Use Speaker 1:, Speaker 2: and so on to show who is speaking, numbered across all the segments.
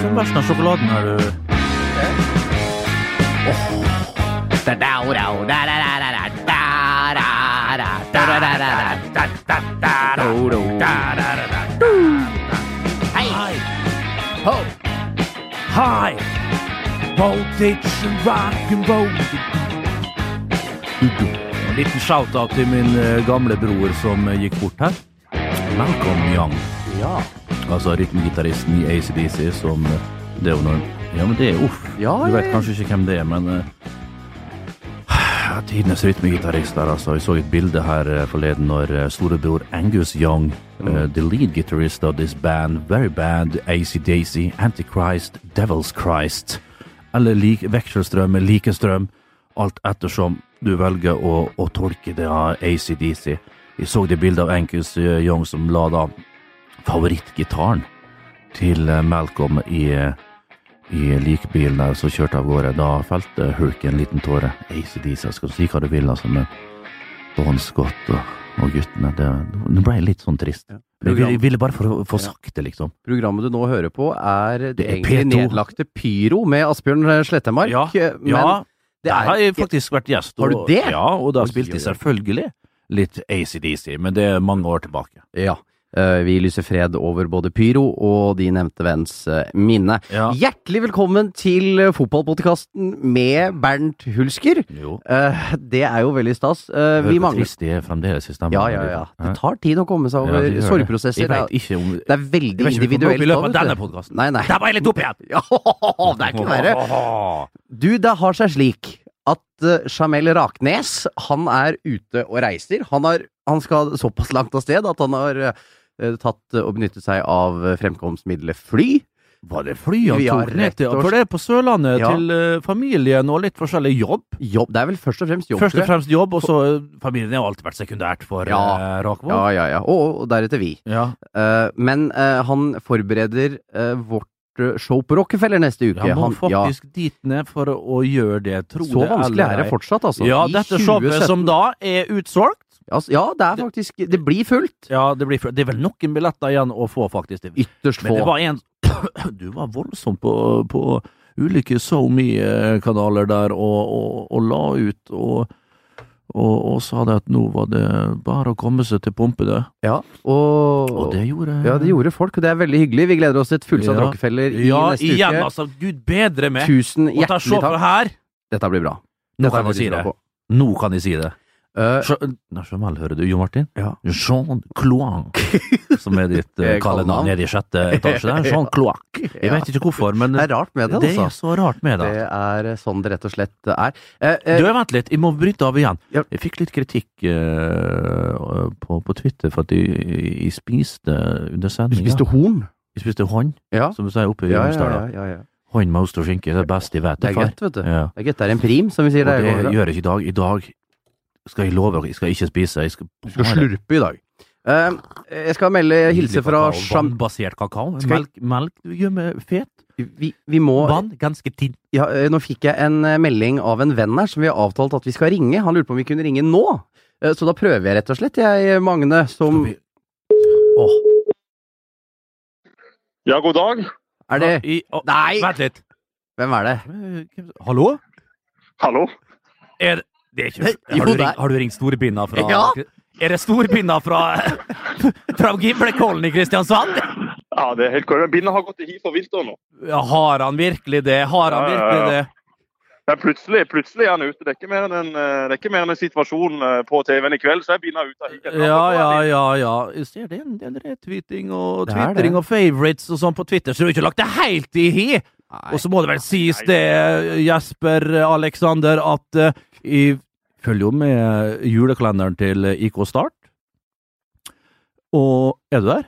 Speaker 1: som resten sånn av sjokoladen her, du. Hei! Ho! High! Voltage and rock'n'roll. En liten shout-out til min eh, gamle bror som eh, gikk bort her. Malcolm Young.
Speaker 2: Ja.
Speaker 1: Altså rytmegitaristen i ACDC som eh, Det er jo noen Ja, men det er uff.
Speaker 2: Ja,
Speaker 1: du
Speaker 2: ja,
Speaker 1: vet
Speaker 2: ja.
Speaker 1: kanskje ikke hvem det er, men eh, Tidenes rytmegitarist der, altså. Jeg så et bilde her eh, forleden når eh, storebror Angus Young, eh, the lead guitarist of this band, very bad ACDC, Antichrist, Devil's Christ, eller lik, vekselstrøm, likestrøm, alt ettersom du velger å, å tolke det av ACDC. Jeg så det bildet av Angus eh, Young som la da favorittgitaren til eh, Malcolm i, eh, i likbilen der som kjørte av gårde. Da felte Hulk en liten tåre. ACDC, skal du si hva du vil, altså, men Bon Scott og, og guttene det, det ble litt sånn trist.
Speaker 2: Ja.
Speaker 1: Jeg ville, jeg
Speaker 2: Program,
Speaker 1: ville bare få, få
Speaker 2: Ja.
Speaker 1: sagt det, liksom.
Speaker 2: programmet du nå hører på, er det
Speaker 1: Det er
Speaker 2: egentlig
Speaker 1: P2.
Speaker 2: nedlagte Pyro med Asbjørn Slettemark. eh, men det
Speaker 1: Der
Speaker 2: er
Speaker 1: har jeg faktisk vært gjest.
Speaker 2: Har du
Speaker 1: og-
Speaker 2: det?
Speaker 1: Ja, og da
Speaker 2: Oi,
Speaker 1: spilte
Speaker 2: oi,
Speaker 1: jeg
Speaker 2: oi.
Speaker 1: selvfølgelig litt ACDC, men det er mange år tilbake.
Speaker 2: Ja. eh, Vi lyser fred over både Pyro og de nevnte venns eh, minne.
Speaker 1: Ja.
Speaker 2: Hjertelig velkommen til eh, fotballpodkasten med Bernt Hulsker.
Speaker 1: Jo.
Speaker 2: Eh, Det er jo veldig stas. Eh,
Speaker 1: Hører
Speaker 2: Vi
Speaker 1: hvor
Speaker 2: mangler
Speaker 1: trist det er fremdeles i stemmen.
Speaker 2: Ja, ja, ja. Det tar tid å komme seg
Speaker 1: Ja,
Speaker 2: over
Speaker 1: det gjør det.
Speaker 2: sorgprosesser.
Speaker 1: Jeg
Speaker 2: Det
Speaker 1: vet
Speaker 2: er-
Speaker 1: ikke om
Speaker 2: det er veldig
Speaker 1: Jeg vet ikke om vi kommer
Speaker 2: individuelt.
Speaker 1: opp i løpet
Speaker 2: da,
Speaker 1: av
Speaker 2: vet
Speaker 1: denne
Speaker 2: du.
Speaker 1: podcasten.
Speaker 2: Nei, nei.
Speaker 1: Der var jeg litt opp igjen!
Speaker 2: Ja, det er ikke verre. Du, det har seg slik at eh, Jamel Raknes, han er ute og reiser. Han, har, han skal såpass langt av sted at han har eh, tatt eh, og benyttet seg av eh, fremkomstmiddelet fly.
Speaker 1: Var det fly han
Speaker 2: Vi har
Speaker 1: tok ned
Speaker 2: rett
Speaker 1: til?
Speaker 2: og
Speaker 1: For det er på Sørlandet,
Speaker 2: Ja.
Speaker 1: til eh, familien og litt forskjellig jobb.
Speaker 2: Jobb, det er vel først og fremst jobb,
Speaker 1: Først og
Speaker 2: tror jeg.
Speaker 1: fremst jobb, og så eh, familien har alltid vært sekundært for
Speaker 2: Ja.
Speaker 1: eh,
Speaker 2: Ja,
Speaker 1: Rakvoll.
Speaker 2: ja, ja. Og, og deretter vi.
Speaker 1: Ja.
Speaker 2: Eh, men eh, han forbereder eh, vårt eh, show på Rockefeller neste uke.
Speaker 1: Han må
Speaker 2: ja.
Speaker 1: faktisk dit ned for å gjøre det, tro
Speaker 2: Så
Speaker 1: det
Speaker 2: vanskelig
Speaker 1: eller
Speaker 2: er det
Speaker 1: ei.
Speaker 2: fortsatt, altså.
Speaker 1: Ja,
Speaker 2: I
Speaker 1: dette showet som da er utsolgt.
Speaker 2: altså, Ja, det er faktisk Det blir fullt.
Speaker 1: Ja, det, blir, det er vel noen billetter igjen å få, faktisk. Det-
Speaker 2: Ytterst
Speaker 1: Men det
Speaker 2: få.
Speaker 1: var en Du var voldsom på, på ulike SoMe-kanaler der og, og, og la ut og, og, og sa det at nå var det bare å komme seg til pumpene.
Speaker 2: Ja, og,
Speaker 1: Og det gjorde
Speaker 2: Ja, det gjorde folk, og det er veldig hyggelig. Vi gleder oss til et fullsatt
Speaker 1: Ja.
Speaker 2: Rockefeller i
Speaker 1: Ja,
Speaker 2: neste
Speaker 1: igjen,
Speaker 2: uke.
Speaker 1: altså. Gud bedre meg.
Speaker 2: Tusen
Speaker 1: Og ta
Speaker 2: hjertelig
Speaker 1: sjåfør
Speaker 2: takk.
Speaker 1: her.
Speaker 2: Dette blir bra.
Speaker 1: Nå
Speaker 2: Dette
Speaker 1: kan jeg
Speaker 2: blir
Speaker 1: si
Speaker 2: bra
Speaker 1: det.
Speaker 2: på.
Speaker 1: Nå kan jeg si det.
Speaker 2: Eh,
Speaker 1: Sj- Nei, Jamal, hører du, Jo Martin?
Speaker 2: Ja.
Speaker 1: Jean Cloac, som er ditt
Speaker 2: Eh,
Speaker 1: eh,
Speaker 2: kallenavn.
Speaker 1: kallenavn nede i sjette etasje der. Jean Cloac. Jeg
Speaker 2: Ja.
Speaker 1: vet ikke hvorfor, men
Speaker 2: det er rart med det,
Speaker 1: det
Speaker 2: altså.
Speaker 1: er så rart med det.
Speaker 2: Det er eh, sånn det rett og slett er. Eh, eh,
Speaker 1: Du, vent litt, jeg må bryte av igjen.
Speaker 2: Ja.
Speaker 1: Jeg fikk litt kritikk eh, på, på Twitter for at jeg, jeg spiste under
Speaker 2: du
Speaker 1: sendinga.
Speaker 2: spiste horn?
Speaker 1: Jeg spiste hånd,
Speaker 2: Ja.
Speaker 1: som du sier oppe i
Speaker 2: Ja, ja, ja,
Speaker 1: Romsdal. da.
Speaker 2: ja, ja.
Speaker 1: Hånd med ost og skinke, det er best jeg vet.
Speaker 2: Det er
Speaker 1: far.
Speaker 2: godt, vet du.
Speaker 1: Ja.
Speaker 2: Det er godt. Det er en prim, som vi sier.
Speaker 1: Og
Speaker 2: der i
Speaker 1: det
Speaker 2: går, da.
Speaker 1: gjør jeg ikke i dag. I dag skal jeg love, jeg skal ikke spise. Jeg skal,
Speaker 2: Du skal slurpe i dag. Eh, jeg skal melde hilse fra Sham...
Speaker 1: Vannbasert kakao.
Speaker 2: Skal jeg-
Speaker 1: Melk, melk du gjør meg fet.
Speaker 2: Vi, vi må
Speaker 1: Vann, ganske tynn.
Speaker 2: ja, eh, Nå fikk jeg en eh, melding av en venn her som vi har avtalt at vi skal ringe. Han lurte på om vi kunne ringe nå. Eh, Så da prøver jeg rett og slett, jeg, Magne, som
Speaker 1: Skal vi- Åh,
Speaker 3: Ja, god dag.
Speaker 2: Er det
Speaker 1: i- åh,
Speaker 2: Nei!
Speaker 1: Vent litt.
Speaker 2: Hvem er det?
Speaker 1: Eh, hvem- Hallo?
Speaker 3: Hallo.
Speaker 1: Er det er ikke
Speaker 2: Nei,
Speaker 1: Har
Speaker 2: jo,
Speaker 1: du
Speaker 2: det
Speaker 1: ringt,
Speaker 2: er-
Speaker 1: har du ringt storbinda fra
Speaker 2: Ja.
Speaker 1: Er det storbinda fra Fra Gimlekollen i Kristiansand?
Speaker 3: Ja, det er helt korrekt. Bindet har gått i hi for vinteren nå.
Speaker 1: Ja, Har han virkelig det? Har han
Speaker 3: Ja, ja,
Speaker 1: virkelig det?
Speaker 3: Men plutselig, plutselig er han ute. Det er ikke mer enn en, eh, det er ikke mer enn en situasjon eh, på TV-en i kveld, så er bindet ute av hiet.
Speaker 1: Ja, ja, ja. ja. Jeg ser det er en del retweeting og
Speaker 2: Det er det.
Speaker 1: twittering og favorites og sånn på Twitter, så du har ikke lagt det helt i hi! Og så må det vel sies det, Jesper Alexander, at eh, jeg følger jo med julekalenderen til IK Start. Og er du der?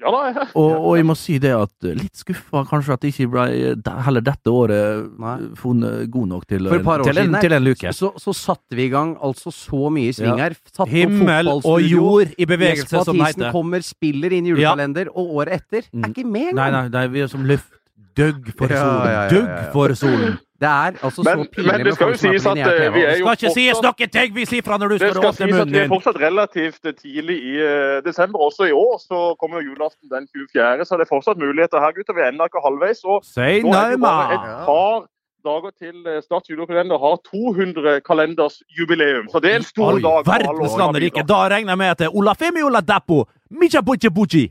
Speaker 3: Ja da, jeg-
Speaker 1: Og, og jeg må si det at eh, litt skuffa kanskje at det ikke ble eh, de- heller dette året
Speaker 2: Nei.
Speaker 1: eh, funnet god nok til,
Speaker 2: For et
Speaker 1: en-
Speaker 2: par år
Speaker 1: til,
Speaker 2: siden
Speaker 1: en,
Speaker 2: her-
Speaker 1: til en luke.
Speaker 2: Så, så satte vi i gang altså så mye i sving
Speaker 1: Ja.
Speaker 2: her. Satt opp
Speaker 1: Himmel og
Speaker 2: fotballstudio.
Speaker 1: jord i
Speaker 2: Jesper
Speaker 1: bevegelse, som det
Speaker 2: Mathisen
Speaker 1: heter.
Speaker 2: kommer, spiller inn julekalender, og året etter
Speaker 1: Mm.
Speaker 2: er ikke med
Speaker 1: Nei,
Speaker 2: engang!
Speaker 1: nei, nei, vi er som luft. Døgg for
Speaker 2: Ja, ja,
Speaker 1: solen.
Speaker 2: ja, ja, ja.
Speaker 1: Døgg for solen.
Speaker 2: Det er altså så
Speaker 3: Men, men det
Speaker 2: pinlig
Speaker 3: skal jo sies at eh, vi er jo
Speaker 1: Skal ikke sies
Speaker 3: fortsatt,
Speaker 1: noen ting vi sier fra når du
Speaker 3: det
Speaker 1: står og
Speaker 3: skal
Speaker 1: åpner
Speaker 3: sies at vi
Speaker 1: munnen
Speaker 3: er
Speaker 1: din!
Speaker 3: fortsatt relativt tidlig i eh, desember. Også i år så kommer jo julaften den 24., så det er fortsatt muligheter her, gutter. Vi er ennå ikke halvveis. og
Speaker 1: Si
Speaker 3: Nå er det
Speaker 1: nauma!
Speaker 3: bare et par dager til eh, Start julekalender har 200 kalenders jubileum. Så det er en stor
Speaker 1: Oi,
Speaker 3: dag. for alle
Speaker 1: verdens
Speaker 3: årene
Speaker 1: land og
Speaker 3: videre.
Speaker 1: rike. Da regner jeg med at det er Olafemi Oladapo! Micha Bucci Bucci!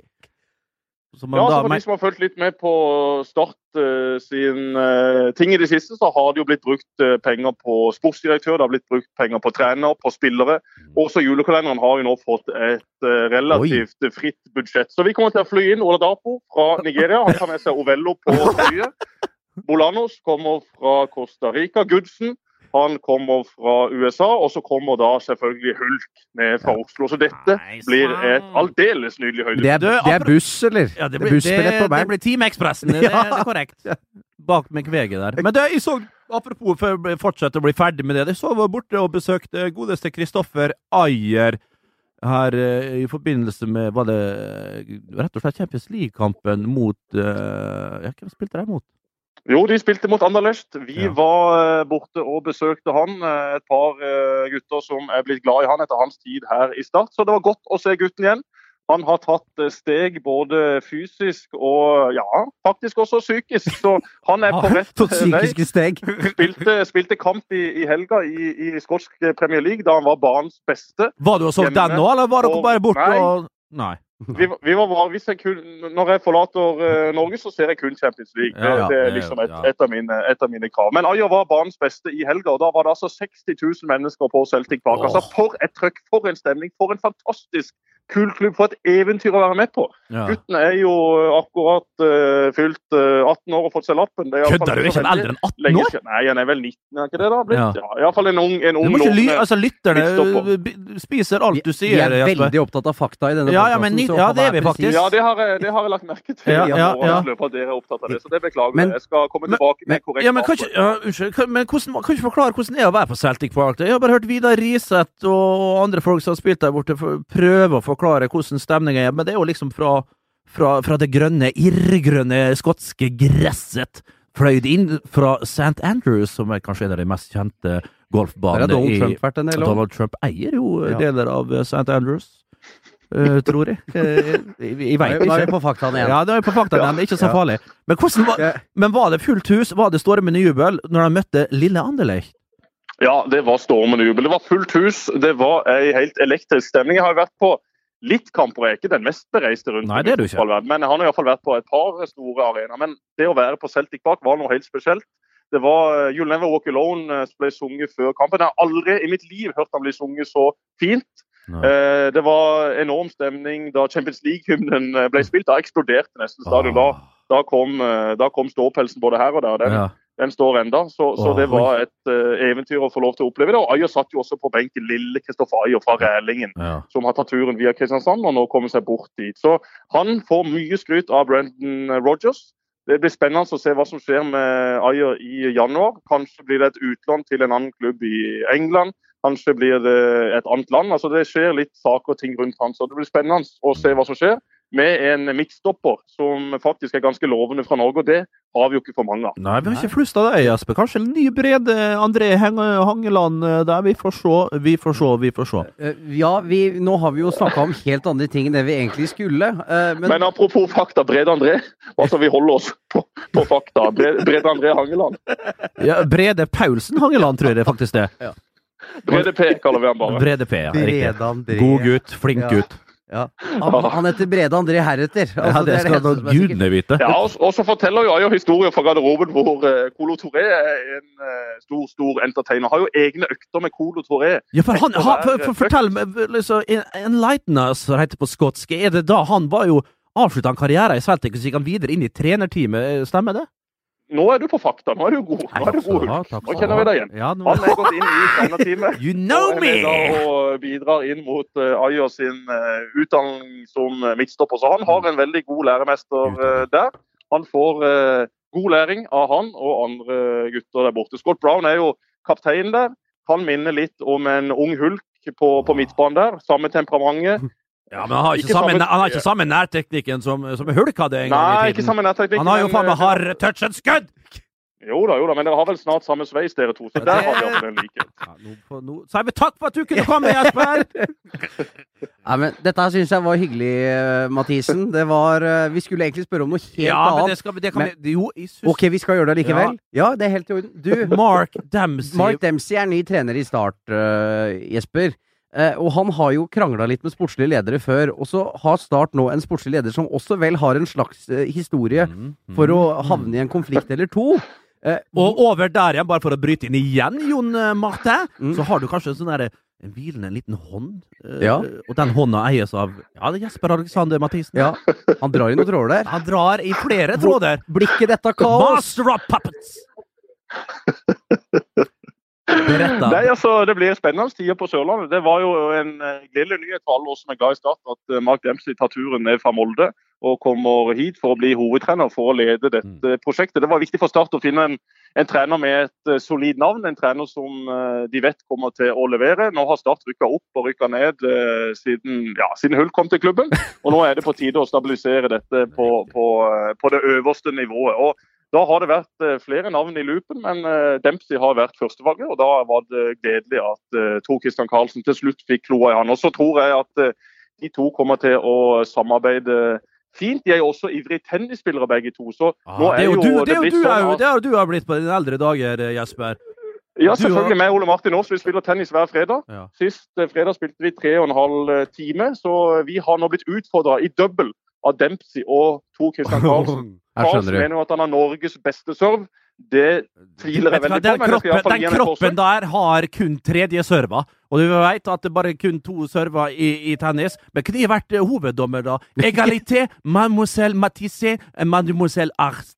Speaker 1: Som man
Speaker 3: Ja, så
Speaker 1: da
Speaker 3: for de
Speaker 1: men,
Speaker 3: som har fulgt litt med på Start eh, sin eh, ting i det siste, så har det jo blitt brukt eh, penger på sportsdirektør, det har blitt brukt penger på trener, på spillere.
Speaker 1: Mm.
Speaker 3: Også julekalenderen har jo nå fått et eh, relativt fritt budsjett. Så vi kommer til å fly inn Ola Dapo fra Nigeria. Han tar med seg Ovello på flyet. Bolanos kommer fra Costa Rica. Goodsen. Han kommer fra USA, og så kommer da selvfølgelig Hulk ned fra Oslo. Så dette
Speaker 1: Nei,
Speaker 3: blir
Speaker 1: sant.
Speaker 3: et aldeles nydelig høydepunkt.
Speaker 2: Det er,
Speaker 1: Du,
Speaker 2: det er
Speaker 1: apro-
Speaker 2: buss, eller?
Speaker 1: ja, det
Speaker 2: er
Speaker 1: blir, det,
Speaker 2: bussbillett på
Speaker 1: det
Speaker 2: meg.
Speaker 1: blir Team Ekspressen, det,
Speaker 2: Ja.
Speaker 1: det er korrekt. Bak med kveget der. Men det, jeg så, apropos før jeg fortsetter å bli ferdig med det, jeg så var borte og besøkte godeste Kristoffer Ayer her eh, i forbindelse med Var det eh, rett og slett Champions League-kampen mot eh, Ja, hvem spilte de mot?
Speaker 3: Jo, de spilte mot Anderlecht. Vi
Speaker 1: Ja.
Speaker 3: var eh, borte og besøkte han. eh, Et par eh, gutter som er blitt glad i han etter hans tid her i Start. Så det var godt å se gutten igjen. Han har tatt eh, steg både fysisk og ja, faktisk også psykisk. Så han er på rett
Speaker 2: Tatt
Speaker 3: eh, vei.
Speaker 2: psykiske steg.
Speaker 3: Spilte, spilte kamp i, i helga i, i skotsk eh, Premier League da han var banens beste.
Speaker 1: Var du og så
Speaker 3: Hjemme.
Speaker 1: den nå, eller var dere
Speaker 3: Og-
Speaker 1: bare borte
Speaker 3: Nei.
Speaker 1: og Nei.
Speaker 3: Vi, vi var, var- hvis jeg kun, når jeg forlater eh, Norge, så ser jeg kun Champions League.
Speaker 1: Ja, ja,
Speaker 3: det, det er
Speaker 1: det er
Speaker 3: liksom
Speaker 1: jo-
Speaker 3: et,
Speaker 1: ja.
Speaker 3: et, av mine, et av mine krav. Men Ayer var banens beste i helga, og da var det altså 60 000 mennesker på Celtic Park. Altså,
Speaker 1: Åh.
Speaker 3: for et trøkk, for en stemning, for en fantastisk kul klubb, for et eventyr å være med på.
Speaker 1: Ja.
Speaker 3: Gutten er jo akkurat eh, fylt eh, 18 år og fått seg lappen. Det er i hvert fall
Speaker 1: Kødder du? Er ikke han
Speaker 3: veldig
Speaker 1: eldre enn 18
Speaker 3: lenge
Speaker 1: år?
Speaker 3: siden. Nei, han er vel 19, er ikke det da? Blitt?
Speaker 1: Ja.
Speaker 3: Ja. Iallfall en ung, en
Speaker 1: Du
Speaker 3: ung eh,
Speaker 1: må ikke ly
Speaker 3: lovende-
Speaker 1: altså, lytterne eh,
Speaker 3: Kristoffer.
Speaker 1: b- spiser alt du
Speaker 2: Vi
Speaker 1: sier.
Speaker 2: er
Speaker 1: Jesper.
Speaker 2: veldig opptatt av fakta i denne
Speaker 1: Ja, ja, men
Speaker 2: podcasten,
Speaker 1: ni-
Speaker 2: så
Speaker 1: ja,
Speaker 2: han
Speaker 1: det er vi
Speaker 2: presis.
Speaker 1: faktisk.
Speaker 3: Ja, det har jeg, det har jeg lagt merke til.
Speaker 1: Ja,
Speaker 3: Ja,
Speaker 1: ja, ja.
Speaker 3: At dere er opptatt av det, så det beklager
Speaker 2: Men-
Speaker 3: jeg. Jeg skal komme
Speaker 1: Men-
Speaker 3: tilbake med korrekt
Speaker 1: Ja, men kan ikke, ja, unnskyld, kan, men hvordan, kan ikke forklare hvordan det er å være på Celtic Park? Jeg har bare hørt Vidar Riseth og andre folk som har spilt der borte, for- prøve å forklare hvordan stemninga er, men det er jo liksom fra, fra, fra det grønne, irrgrønne skotske gresset pløyd inn fra St. Andrews, som er kanskje en av de mest kjente
Speaker 2: Der har
Speaker 1: golfbanene
Speaker 2: Donald
Speaker 1: i
Speaker 2: Trump vært en del år.
Speaker 1: Donald Trump eier jo
Speaker 2: Ja.
Speaker 1: deler av eh, St. Andrews, eh, tror jeg. Eh, Jeg, jeg
Speaker 2: Nei,
Speaker 1: veit
Speaker 2: Nå er vi
Speaker 1: ikke.
Speaker 2: på faktaene igjen.
Speaker 1: Ja, det er på fakta, men det er ikke
Speaker 2: Ja.
Speaker 1: så farlig. Men hvordan var
Speaker 2: Ja.
Speaker 1: men var det fullt hus? Var det stormende jubel når de møtte lille Anderlecht?
Speaker 3: Ja, det var stormende jubel. Det var fullt hus. Det var ei helt elektrisk stemning. Jeg har jo vært på litt kamper. Jeg er ikke den mest bereiste rundt
Speaker 1: Nei,
Speaker 3: om
Speaker 1: det er
Speaker 3: i
Speaker 1: du ikke.
Speaker 3: fotballverden, men jeg har nå i hvert fall vært på et par store arenaer. Men det å være på Celtic Park var noe helt spesielt. Det var eh, You'll Never Walk Alone eh, som ble sunget før kampen. Jeg har aldri i mitt liv hørt han bli sunget så fint.
Speaker 1: Nei.
Speaker 3: Eh, Det var enorm stemning da Champions League-hymnen eh, ble spilt. Da eksploderte nesten stadion. Da
Speaker 1: Ah.
Speaker 3: da kom, eh, da kom ståpelsen både her og der. Den,
Speaker 1: Ja.
Speaker 3: den står enda, så, så
Speaker 1: Åh,
Speaker 3: det var et eh, eventyr å få lov til å oppleve det. Og Ayer satt jo også på benken, lille Kristoffer Ayer fra Rælingen,
Speaker 1: Ja.
Speaker 3: som har tatt turen via Kristiansand og nå kommer seg bort dit. Så han får mye skryt av Brendan Rogers. Det blir spennende å se hva som skjer med Ayer i januar. Kanskje blir det et utlån til en annen klubb i England. Kanskje blir det et annet land. Altså Det skjer litt saker og ting rundt han, så det blir spennende å se hva som skjer. Med en midtstopper som faktisk er ganske lovende fra Norge, og det har vi jo ikke for mange av.
Speaker 1: Nei, vi har ikke flust av deg, Jesper. Kanskje en ny Brede André Heng Hangeland eh, der. Vi får se, vi får se, vi får se.
Speaker 2: Eh, Ja, vi, nå har vi jo snakka om helt andre ting enn det vi egentlig skulle. eh, Men,
Speaker 3: Men apropos fakta, Brede André. Altså, vi holder oss på, på fakta. Bre- Brede André Hangeland.
Speaker 1: Ja, Brede Paulsen Hangeland, tror jeg det er faktisk det.
Speaker 3: Brede P kaller vi han bare.
Speaker 1: Brede P, ja. Riktig.
Speaker 2: André
Speaker 1: God gutt, flink
Speaker 2: Ja.
Speaker 1: gutt.
Speaker 2: Ja. Han, han heter Brede André heretter.
Speaker 1: Ja,
Speaker 2: Altså,
Speaker 1: det
Speaker 2: er
Speaker 1: skal
Speaker 2: eneste
Speaker 1: nå
Speaker 2: som er sikkert.
Speaker 1: gudene vite.
Speaker 3: Ja, og, og så forteller jo Ayo historier fra garderoben hvor eh, Colo Touré er en eh, stor stor entertainer. Har jo egne økter med Colo Touré.
Speaker 1: Ja, for han,
Speaker 3: Og
Speaker 1: han
Speaker 3: der-
Speaker 1: for, for, Fortell meg, liksom, en- Enlighten Us, som det heter på skotsk, er det da han var jo Avslutta han karrieren i Celtic, og så gikk han videre inn i trenerteamet, eh, stemmer det?
Speaker 3: Nå er du på fakta. Nå er du god. Nå er du god.
Speaker 1: ha, takk
Speaker 3: Nå kjenner vi deg igjen.
Speaker 1: Ja, nå,
Speaker 3: Han er gått inn i trenerteamet.
Speaker 1: you
Speaker 3: Og
Speaker 1: know
Speaker 3: er med da
Speaker 1: me!
Speaker 3: og bidrar inn mot eh, Ayo sin eh, utdanning som eh, midtstopper. Så han har en veldig god læremester eh, der. Han får eh, god læring av han og andre gutter der borte. Scott Brown er jo kaptein der. Han minner litt om en ung hulk på, på midtbanen der. Samme temperamentet.
Speaker 1: Ja, men han har ikke,
Speaker 3: Ikke
Speaker 1: samme,
Speaker 3: samme-
Speaker 1: han har ikke samme nærteknikken som, som Hulk hadde en gang
Speaker 3: Nei,
Speaker 1: i
Speaker 3: ikke
Speaker 1: tiden.
Speaker 3: samme nærteknikk.
Speaker 1: Han har jo
Speaker 3: men,
Speaker 1: faen meg
Speaker 3: eh,
Speaker 1: hard touch and skudd!
Speaker 3: Jo da, jo da, men dere har vel snart samme sveis, dere to. Så
Speaker 1: Ja,
Speaker 3: der
Speaker 1: det-
Speaker 3: har vi altså en likhet.
Speaker 1: Ja, nå, får- nå. Simon, takk for at du kunne komme, Jesper!
Speaker 2: Nei, men Dette her syns jeg var hyggelig, eh, Mathisen. Det var eh, Vi skulle egentlig spørre om noe helt
Speaker 1: Ja, men det
Speaker 2: annet.
Speaker 1: skal vi det kan vi- Jo, jeg syns
Speaker 2: Ok, vi skal gjøre det likevel? Ja, det er helt i orden. Du,
Speaker 1: Mark Dempsey
Speaker 2: Mark Dempsey er ny trener i Start, eh, Jesper. Eh, og han har jo krangla litt med sportslige ledere før. Og så har Start nå en sportslig leder som også vel har en slags eh, historie
Speaker 1: Mm, mm.
Speaker 2: for å havne i en konflikt eller to. Eh,
Speaker 1: Og over der igjen, bare for å bryte inn igjen, Jon eh, Marte,
Speaker 2: Mm.
Speaker 1: så har du kanskje en sånn derre en hvilende liten hånd, eh,
Speaker 2: Ja.
Speaker 1: og den hånda eies av ja, det er Jesper Alexander Mathisen.
Speaker 2: ja, han drar i noen tråder der.
Speaker 1: Han drar i flere tråder.
Speaker 2: Blir ikke dette kaos?
Speaker 1: Master of puppets! Beretta.
Speaker 3: Nei, altså, Det blir spennende tider på Sørlandet. Det var jo en eh, gledelig nyhet for alle oss som er glad i Start, at eh, Mark Dempsey tar turen ned fra Molde og kommer hit for å bli hovedtrener for å lede dette prosjektet. Det var viktig for Start å finne en, en trener med et eh, solid navn, en trener som eh, de vet kommer til å levere. Nå har Start rykka opp og rykka ned eh, siden, ja, siden Hull kom til klubben, og nå er det på tide å stabilisere dette på, på, eh, på det øverste nivået. Og da har det vært eh, flere navn i loopen, men eh, Dempsey har vært førstevalget. og Da var det gledelig at eh, Tor Christian Karlsen til slutt fikk kloa i han. Og Så tror jeg at eh, de to kommer til å samarbeide fint. De er jo også ivrige tennisspillere begge to. så
Speaker 1: Ah,
Speaker 3: nå
Speaker 1: det er jo du, det er jo
Speaker 3: blitt
Speaker 1: du, er jo,
Speaker 3: sånn at-
Speaker 1: det er jo du har blitt på dine eldre dager, eh, Jesper.
Speaker 3: Ja,
Speaker 1: du har-
Speaker 3: selvfølgelig. Med Ole Martin Aas, vi spiller tennis hver fredag.
Speaker 1: Ja.
Speaker 3: Sist eh, fredag spilte vi tre og en halv eh, time, så vi har nå blitt utfordra i double av Dempsey og Tor Christian Karlsen.
Speaker 2: Her
Speaker 3: Karlsen
Speaker 2: skjønner du.
Speaker 3: mener jo at han har Norges beste serve. Det tviler
Speaker 1: Vet
Speaker 3: jeg
Speaker 1: du hva,
Speaker 3: veldig på.
Speaker 1: den
Speaker 3: men jeg skal
Speaker 1: kroppen, den
Speaker 3: i hvert fall gi han et forsøk.
Speaker 1: kroppen der har kun tredje server. Og du vet at det bare er kun to server i, i tennis. Men kunne jeg vært eh, hoveddommer, da? Egalité, mademoiselle Matisse, eh, mademoiselle Arst.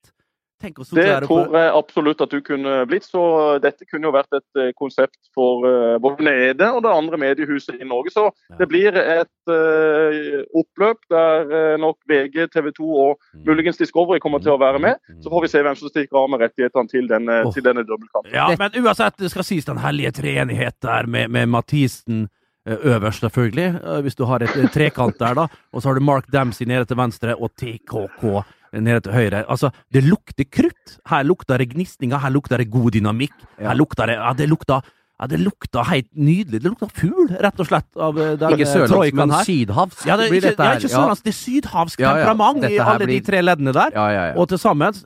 Speaker 1: Tenk å sitte
Speaker 3: Det
Speaker 1: der
Speaker 3: tror
Speaker 1: oppe.
Speaker 3: jeg absolutt at du kunne blitt. Så dette kunne jo vært et eh, konsept for eh, både Nede og det andre mediehuset i Norge. Så
Speaker 1: Ja.
Speaker 3: det blir et eh, oppløp der eh, nok VG, TV 2 og muligens Discovery kommer til å være med. Så får vi se hvem som stikker av med rettighetene til denne,
Speaker 1: Åh.
Speaker 3: til denne dobbeltkampen.
Speaker 1: Ja, men uansett, det skal sies den hellige treenighet der med, med Mathisen eh, øverst, selvfølgelig. eh, Hvis du har et eh, trekant der, da. Og så har du Mark Dempsey nede til venstre og TKK nede til høyre. Altså, det lukter krutt. Her lukter det gnisninger, her lukter det god dynamikk. Her lukter det Ja, det lukter ja, det lukta helt nydelig. Det lukta fugl, rett og slett, av eh, den
Speaker 2: Ikke
Speaker 1: eh,
Speaker 2: sørlandsk,
Speaker 1: troikaen
Speaker 2: men
Speaker 1: her.
Speaker 2: sydhavsk
Speaker 1: Ja, det er
Speaker 2: blir
Speaker 1: ikke,
Speaker 2: dette
Speaker 1: ja,
Speaker 2: her.
Speaker 1: ikke sørlandsk, det er sydhavsk
Speaker 2: Ja, ja.
Speaker 1: temperament i
Speaker 2: Dette her
Speaker 1: alle de
Speaker 2: blir-
Speaker 1: tre leddene der.
Speaker 2: Ja, ja, ja.
Speaker 1: Og til sammen,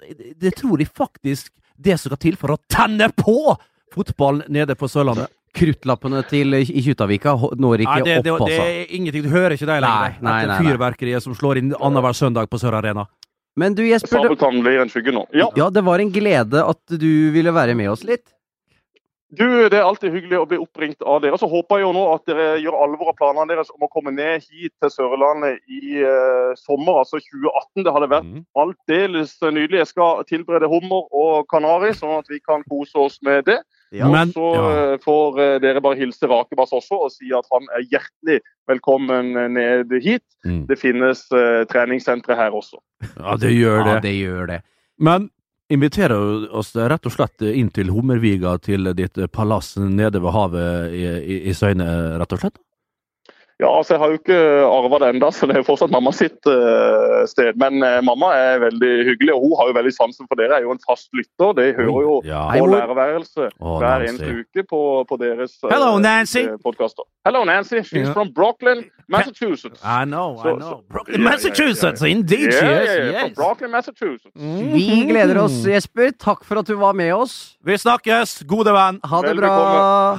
Speaker 1: det tror jeg faktisk det som skal til for å tenne på fotballen nede på Sørlandet.
Speaker 2: Kruttlappene til eh, i Kjuttaviga hå- når ikke
Speaker 1: Nei, det, det,
Speaker 2: opp,
Speaker 1: det
Speaker 2: altså.
Speaker 1: er ingenting. Du hører ikke
Speaker 2: Nei,
Speaker 1: det lenger.
Speaker 2: nei,
Speaker 1: Dette
Speaker 2: nei, nei.
Speaker 1: fyrverkeriet som slår inn annenhver søndag på Sør Arena.
Speaker 2: Men du, Jesper, det,
Speaker 3: Sabeltann blir en skygge nå. Ja,
Speaker 2: ja, det var en glede at du ville være med oss litt.
Speaker 3: du, Det er alltid hyggelig å bli oppringt av dere. Så håper jeg jo nå at dere gjør alvor av planene deres om å komme ned hit til Sørlandet i eh, sommer, altså 2018. Det hadde vært
Speaker 2: Mm.
Speaker 3: aldeles nydelig. Jeg skal tilberede hummer og kanari, sånn at vi kan kose oss med det.
Speaker 2: Ja.
Speaker 1: Men-
Speaker 3: og så eh, får eh, dere bare hilse Rakebass også og si at han er hjertelig velkommen ned hit.
Speaker 1: Mm.
Speaker 3: Det finnes eh, treningssentre her også.
Speaker 1: Ja, det gjør
Speaker 2: Ja,
Speaker 1: det.
Speaker 2: det gjør det.
Speaker 1: Men inviterer oss rett og slett inn til Hummerviga, til ditt palass nede ved havet i, i, i Søyne, rett og slett?
Speaker 3: Ja, altså Jeg har jo ikke arva det enda, så det er jo fortsatt mamma sitt eh, sted. Men eh, mamma er veldig hyggelig, og hun har jo veldig sansen for dere. Er jo en fast lytter. Det hører jo
Speaker 1: Ja.
Speaker 2: Hei,
Speaker 3: på
Speaker 2: mor.
Speaker 3: lærerværelset
Speaker 1: Å,
Speaker 3: hver
Speaker 1: Nancy.
Speaker 3: eneste uke på, på deres eh,
Speaker 1: Hello, Nancy.
Speaker 3: eh, podcaster. Hello, Nancy. She's
Speaker 1: Ja.
Speaker 3: from Brooklyn, Massachusetts.
Speaker 1: I know, I
Speaker 3: Så-
Speaker 1: know.
Speaker 3: så-
Speaker 1: Brooklyn,
Speaker 3: Ja, ja, ja, ja.
Speaker 1: Massachusetts, indeed she
Speaker 3: Yeah,
Speaker 1: is,
Speaker 3: yeah, yeah,
Speaker 1: yes.
Speaker 3: From Brooklyn, Massachusetts.
Speaker 2: Vi gleder oss, Jesper. Takk for at du var med oss.
Speaker 1: Vi snakkes, gode venn.
Speaker 2: Ha det
Speaker 3: Vel
Speaker 2: bra.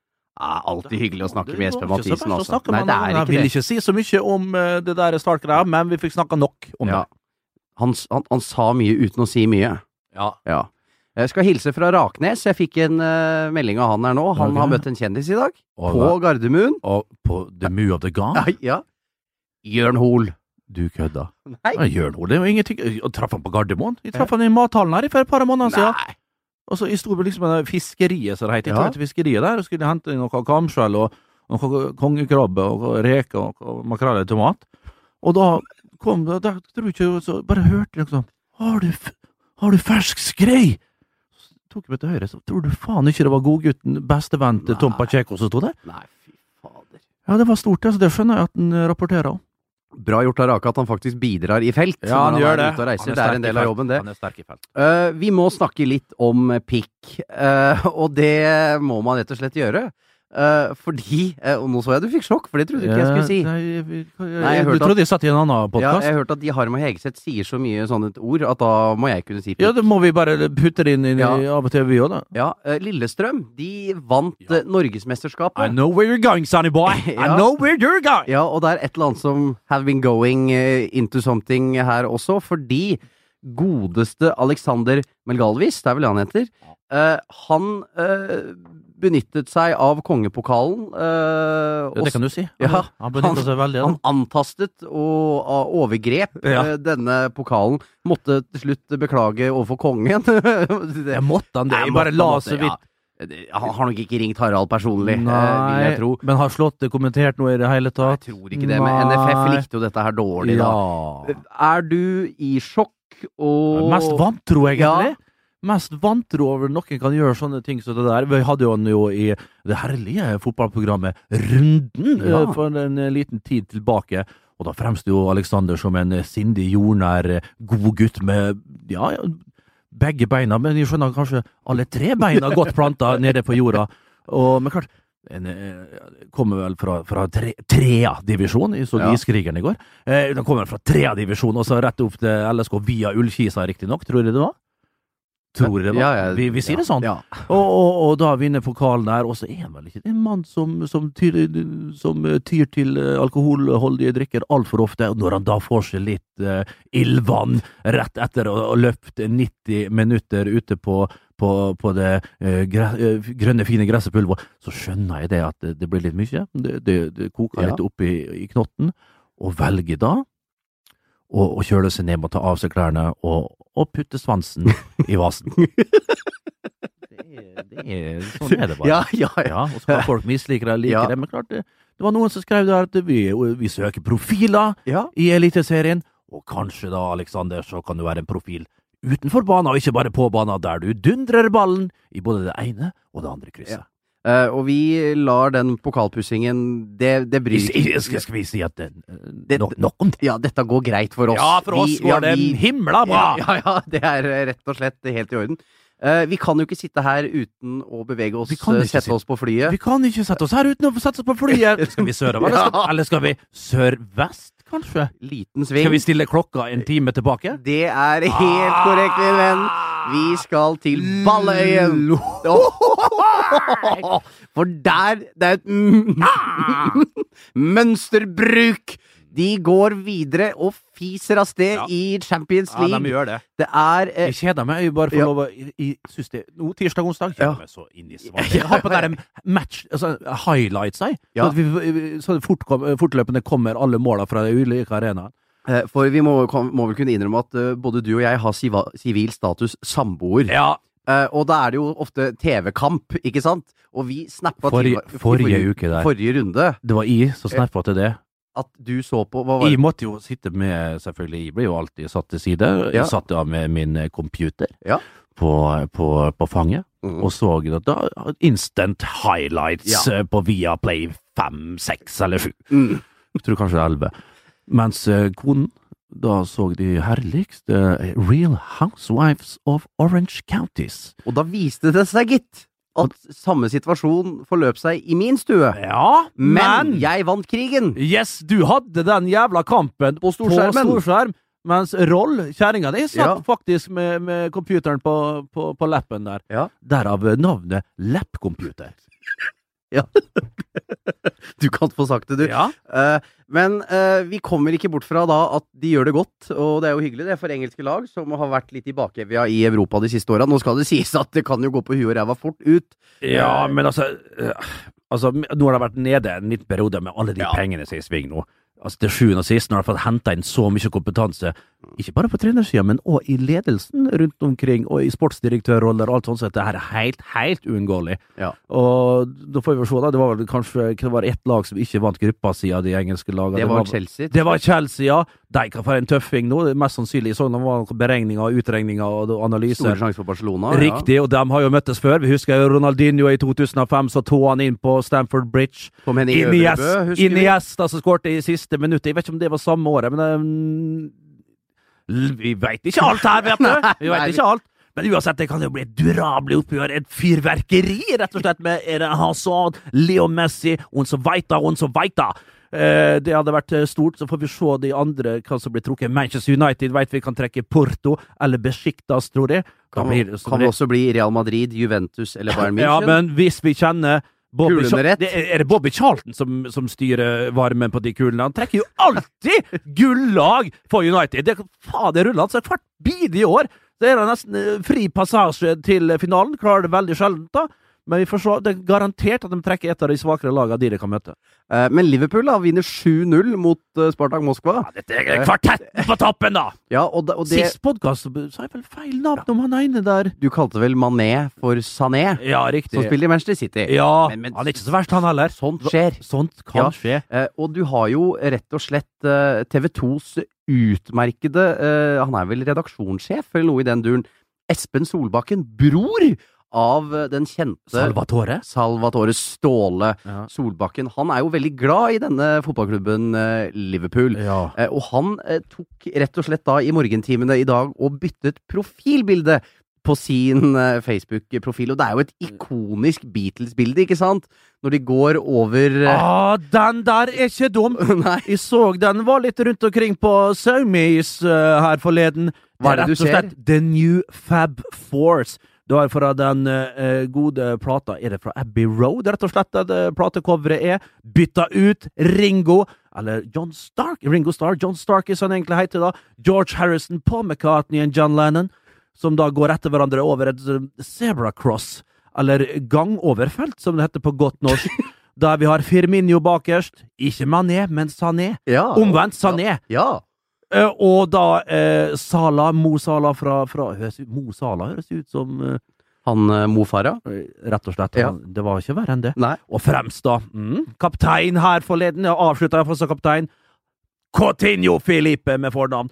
Speaker 2: Ja, alltid hyggelig å snakke med Jesper Mathisen, altså. Nei,
Speaker 1: Nei,
Speaker 2: det er
Speaker 1: Jeg vil
Speaker 2: ikke det.
Speaker 1: ikke si så mye om eh, det der Stark-greia, men vi fikk snakka nok om
Speaker 2: Ja. Han, s- han, han sa mye uten å si mye.
Speaker 1: det. Ja.
Speaker 2: Ja. Jeg skal hilse fra Raknes. Jeg fikk en eh, melding av han her nå. Han
Speaker 1: Ok.
Speaker 2: har møtt en kjendis i dag.
Speaker 1: Og
Speaker 2: På
Speaker 1: hva-
Speaker 2: Gardermoen.
Speaker 1: Og på The Moo of the Gang?
Speaker 2: Ja, ja. Jørn Hoel.
Speaker 1: Du kødda.
Speaker 2: Nei.
Speaker 1: Ja, Jørn Hoel, det er jo ingenting Og Traff han på Gardermoen? Jeg traff han i mathallen her for et par måneder siden.
Speaker 2: Nei.
Speaker 1: Og så jeg sto på liksom det fiskeriet, som det heter. Jeg
Speaker 2: Ja.
Speaker 1: tok til fiskeriet der og skulle hente inn noe kamskjell og og noe kongekrabbe og reker og, og makrell i tomat. Og da kom det da, tror jeg ikke, så Bare hørte jeg liksom har du, f- 'Har du fersk skrei?' Så tok jeg meg til høyre, så tror du faen ikke det var godgutten, bestevennen til Tom
Speaker 2: Nei.
Speaker 1: Pacheco som sto der?
Speaker 2: Nei, fy fader.
Speaker 1: Ja, det var stort, det, så det skjønner jeg at han eh, rapporterer om.
Speaker 2: Bra gjort av Rake at han faktisk bidrar i felt.
Speaker 1: Ja,
Speaker 2: når
Speaker 1: han gjør
Speaker 2: er
Speaker 1: det.
Speaker 2: Ute og reiser.
Speaker 1: Han
Speaker 2: Det
Speaker 1: sterk
Speaker 2: er en
Speaker 1: i
Speaker 2: del av
Speaker 1: felt.
Speaker 2: jobben, det.
Speaker 1: Han er sterk i felt.
Speaker 2: Eh, vi må snakke litt om eh, pikk, eh, og det må man rett og slett gjøre. Eh, fordi eh, Og nå så jeg du fikk slokk, for det trodde ikke jeg skulle si.
Speaker 1: Eh, Nei, jeg, jeg,
Speaker 2: Nei, jeg
Speaker 1: du
Speaker 2: hørte at-
Speaker 1: trodde jeg satt i en annen
Speaker 2: Ja,
Speaker 1: podkast?
Speaker 2: jeg
Speaker 1: Ja,
Speaker 2: har hørt at de Harm og Hegeseth sier så mye sånne ord at da må jeg kunne si pikk.
Speaker 1: det må vi bare putte det inn i
Speaker 2: Ja.
Speaker 1: av og til, vi òg, da.
Speaker 2: Ja, eh, Lillestrøm de vant eh,
Speaker 1: I
Speaker 2: Norgesmesterskapet.
Speaker 1: know where you're going, Sonny boy.
Speaker 2: Ja.
Speaker 1: I know where you're going.
Speaker 2: Ja, og det er et eller annet som have been going eh, into something her også, fordi godeste Alexander Melgalvis, det er vel det han heter, eh, han eh, benyttet seg av kongepokalen. eh, og
Speaker 1: det kan du si.
Speaker 2: Ja.
Speaker 1: Han benytter seg veldig av
Speaker 2: Han
Speaker 1: det.
Speaker 2: antastet og av overgrep
Speaker 1: Ja.
Speaker 2: eh, denne pokalen. Måtte til slutt beklage overfor kongen. det
Speaker 1: Jeg måtte han det.
Speaker 2: Nei,
Speaker 1: Jeg bare
Speaker 2: måtte-
Speaker 1: la
Speaker 2: måtte,
Speaker 1: så vidt.
Speaker 2: ja. Det- Han har nok ikke ringt Harald personlig, eh, vil jeg tro.
Speaker 1: men har Slåtte kommentert noe i det hele
Speaker 2: Jeg
Speaker 1: tatt?
Speaker 2: tror ikke det, men NFF likte jo dette her dårlig, da.
Speaker 1: ja.
Speaker 2: Eh, Er du i sjokk og
Speaker 1: Mest vantro,
Speaker 2: Ja.
Speaker 1: egentlig. Mest vantro over noen kan gjøre sånne ting som det der. Vi hadde jo han jo i det herlige fotballprogrammet Runden
Speaker 2: Ja.
Speaker 1: eh, for en eh, liten tid tilbake. Og da fremsto jo Alexander som en eh, sindig, jordnær, eh, god gutt med ja, ja, begge beina, men jeg skjønner kanskje alle tre beina godt planta nede på jorda. Og, men klart, en eh, kommer vel fra, fra tre, trea-divisjon, jeg så
Speaker 2: Ja.
Speaker 1: Iskrigeren i går. Eh, den kommer fra trea-divisjon, og så rett opp til LSK via Ullkisa, riktignok, tror jeg det var? Tror jeg det var.
Speaker 2: Ja, ja,
Speaker 1: vi, vi sier det sånn.
Speaker 2: Ja.
Speaker 1: Og, og, og da vinner pokalen der, og så er han vel ikke en mann som, som, tyr, som eh, tyr til eh, alkoholholdige drikker altfor ofte, og når han da får seg litt eh, ildvann rett etter å ha løpt 90 minutter ute på, på, på det eh, gre, eh, grønne, fine gresset på Ulvål, så skjønner jeg det at det, det blir litt mye. Det, det, det koker
Speaker 2: Ja.
Speaker 1: litt opp i, i knotten, og velger da å å kjøle seg ned og ta av seg klærne og, og putte svansen i vasen. Det er, det er, sånn er det bare.
Speaker 2: Ja, ja, ja.
Speaker 1: Ja, og så kan folk mislike det, like
Speaker 2: Ja.
Speaker 1: det, men klart det, det var noen som skrev der at vi, vi søker profiler
Speaker 2: ja.
Speaker 1: i Eliteserien, og kanskje da, Alexander, så kan du være en profil utenfor banen, og ikke bare på banen, der du dundrer ballen i både det ene og det andre krysset.
Speaker 2: Eh, og vi lar den pokalpussingen Det, det bryr
Speaker 1: Hvis-
Speaker 2: ikke
Speaker 1: Skal, skal vi si at det,
Speaker 2: Det-
Speaker 1: no, nok om det?
Speaker 2: Ja, dette går greit for oss.
Speaker 1: Ja, for oss
Speaker 2: Vi- ja,
Speaker 1: var det
Speaker 2: vi-
Speaker 1: himla bra!
Speaker 2: Ja, ja, ja, det er eh, rett og slett helt i orden. Eh, vi kan jo ikke sitte her uten å bevege oss,
Speaker 1: Vi kan
Speaker 2: eh,
Speaker 1: ikke
Speaker 2: sette
Speaker 1: sitte-
Speaker 2: oss på flyet.
Speaker 1: Vi kan ikke sette oss her uten å sette oss på flyet! Skal vi sørover, eller skal, eller skal vi sørvest, kanskje?
Speaker 2: Liten sving.
Speaker 1: Skal vi stille klokka en time tilbake?
Speaker 2: Det er helt korrekt, min venn. Vi skal til
Speaker 1: Ah.
Speaker 2: Balløyen. Ohohoho! For der Det er et m- mønsterbruk. De går videre og fiser av sted
Speaker 1: Ja.
Speaker 2: i Champions League.
Speaker 1: gjør det.
Speaker 2: det er eh,
Speaker 1: Jeg kjeder meg. Jeg bare får
Speaker 2: Ja.
Speaker 1: lov å jeg- jeg synes det, Nå tirsdag onsdag
Speaker 2: Ja.
Speaker 1: kjeder meg så inn i svart. Jeg har på den der match, altså, highlights, jeg.
Speaker 2: Ja.
Speaker 1: Så, at vi, så det fort, kom- fortløpende kommer alle måla fra de ulike arenaene.
Speaker 2: eh, For vi må, kan- må vel kunne innrømme at eh, både du og jeg har siva, sivil status samboer.
Speaker 1: Ja,
Speaker 2: Eh, og da er det jo ofte TV-kamp, ikke sant? Og vi snappa
Speaker 1: Forrige- forrige uke der.
Speaker 2: Forrige runde.
Speaker 1: det var jeg som snappa til det.
Speaker 2: At du så på Hva var det?
Speaker 1: Jeg måtte jo sitte med Selvfølgelig, jeg ble jo alltid satt til side.
Speaker 2: Ja.
Speaker 1: Jeg satt da med min computer
Speaker 2: Ja.
Speaker 1: på, på, på fanget
Speaker 2: Mhm.
Speaker 1: og så da, da instant highlights
Speaker 2: Ja.
Speaker 1: eh, på Viaplay 5, 6 eller 7.
Speaker 2: Mm.
Speaker 1: Jeg tror kanskje det er 11. Mens eh, konen da så de herligste eh, Real Housewives of Orange Counties.
Speaker 2: Og da viste det seg, gitt, at samme situasjon forløp seg i min stue.
Speaker 1: Ja,
Speaker 2: Men jeg vant krigen!
Speaker 1: Yes, du hadde den jævla kampen på
Speaker 2: storskjermen.
Speaker 1: På storskjerm mens Roll, kjerringa di, satt
Speaker 2: Ja.
Speaker 1: faktisk med, med computeren på, på, på lappen der.
Speaker 2: Ja.
Speaker 1: Derav navnet Lappcomputer.
Speaker 2: Du kan få sagt det, du.
Speaker 1: Ja.
Speaker 2: Eh, men eh, vi kommer ikke bort fra da at de gjør det godt, og det er jo hyggelig det for engelske lag, som har vært litt i bakevja i Europa de siste åra. Nå skal det sies at det kan jo gå på huet og ræva fort ut.
Speaker 1: Ja, men altså, eh, altså Nå har det vært nede en liten periode med alle de
Speaker 2: Ja.
Speaker 1: pengene som er i sving nå. Altså Til sjuende og sist når de har fått henta inn så mye kompetanse, ikke bare på trenersida, men òg i ledelsen rundt omkring, og i sportsdirektørroller og alt sånt, så at det her er helt, helt uunngåelig.
Speaker 2: Ja.
Speaker 1: Og da får vi vel se, da. Det var vel kanskje det var ett lag som ikke vant gruppa si av de engelske lagene.
Speaker 2: Det var Chelsea.
Speaker 1: Det var Chelsea, ja. De kan få en tøffing nå. Det er Mest sannsynlig så det var beregninger og utregninger og
Speaker 2: Store
Speaker 1: analyser.
Speaker 2: sjanser for Barcelona.
Speaker 1: Riktig, og de har jo møttes før. Vi husker jo Ronaldinho i 2005, så tå han inn på Stamford Bridge.
Speaker 2: Ja. Kom hen i
Speaker 1: Inies-
Speaker 2: Øvrebø, husker vi.
Speaker 1: Iniesta som skårte i siste minuttet. Jeg vet ikke om det var samme året, men eh, mm, Vi veit ikke alt her, vet du! Vi
Speaker 2: Nei,
Speaker 1: vet
Speaker 2: vi-
Speaker 1: ikke alt. Men uansett, det kan jo bli et durabelig oppgjør. Et fyrverkeri, rett og slett, med Eden Hazard, Leo Messi, Onsevaita, Onsevaita. Eh, det hadde vært eh, stort. Så får vi se de andre hva som blir trukket. Manchester United veit vi kan trekke Porto eller Besiktas, tror jeg. Da
Speaker 2: Kan,
Speaker 1: blir det som
Speaker 2: kan
Speaker 1: det-
Speaker 2: også bli Real Madrid, Juventus eller Bayern München.
Speaker 1: ja, men hvis vi kjenner Bobby
Speaker 2: Kulene rett.
Speaker 1: Det er, er det Bobby Charlton som, som styrer varmen på de kulene? Han trekker jo alltid gullag for United! Det, faen, det ruller han så hvert bidige år! Det er da nesten eh, fri passasje til eh, finalen. Klarer det veldig sjelden, da. Men vi får se. Det er garantert at de trekker et av de svakere lagene de de kan møte.
Speaker 2: Eh, men Liverpool da, vinner 7-0 mot eh, Spartak Moskva.
Speaker 1: Dette er kvartetten på toppen, da!
Speaker 2: Ja, og, da, og det,
Speaker 1: Sist podkast sa jeg vel feil navn om han ene der.
Speaker 2: Du kalte vel Mané for Sané,
Speaker 1: Ja, riktig.
Speaker 2: som spiller i Manchester City.
Speaker 1: Ja,
Speaker 2: Men- men-
Speaker 1: han er ikke så verst, han heller.
Speaker 2: Sånt skjer.
Speaker 1: Sånt
Speaker 2: Ja.
Speaker 1: kan skje.
Speaker 2: Eh, og du har jo rett og slett eh, TV2s utmerkede eh, Han er vel redaksjonssjef eller noe i den duren. Espen Solbakken, bror av eh, den kjente
Speaker 1: Salvatore.
Speaker 2: Salvatore Ståle
Speaker 1: Ja.
Speaker 2: Solbakken. Han er jo veldig glad i denne fotballklubben eh, Liverpool.
Speaker 1: ja.
Speaker 2: Eh, Og han eh, tok rett og slett da i morgentimene i dag og byttet profilbilde på sin eh, Facebook-profil. Og det er jo et ikonisk Beatles-bilde, ikke sant? Når de går over eh,
Speaker 1: Ah, den der er ikke dum!
Speaker 2: Nei.
Speaker 1: Jeg så den var litt rundt omkring på Saumis eh, her forleden.
Speaker 2: Hva er det
Speaker 1: rett
Speaker 2: du
Speaker 1: og slett The New Fab Force. Du har fra den eh, gode plata Er det fra Abbey Road, rett og slett, det platecoveret er? Bytta ut Ringo Eller John Stark? Ringo Starr? John Stark er sånn egentlig heter da. George Harrison, Paul McCartney og John Lennon. Som da går etter hverandre over et eh, zebra cross. Eller gangoverfelt, som det heter på godt norsk. Der vi har Firminio bakerst. Ikke Mané, men Sané.
Speaker 2: ja,
Speaker 1: Omvendt Sané.
Speaker 2: Ja.
Speaker 1: Eh, og da eh, Sala, Mo Sala fra, fra høres, ut- Mo Sala høres ut som eh,
Speaker 2: Han eh, Mo Farah.
Speaker 1: Rett og slett.
Speaker 2: Ja.
Speaker 1: han- Det var ikke verre enn det.
Speaker 2: Nei.
Speaker 1: Og fremst, da. Mm, kaptein her forleden. Jeg avslutta iallfall som kaptein. Cotinho Filipe med fornavn.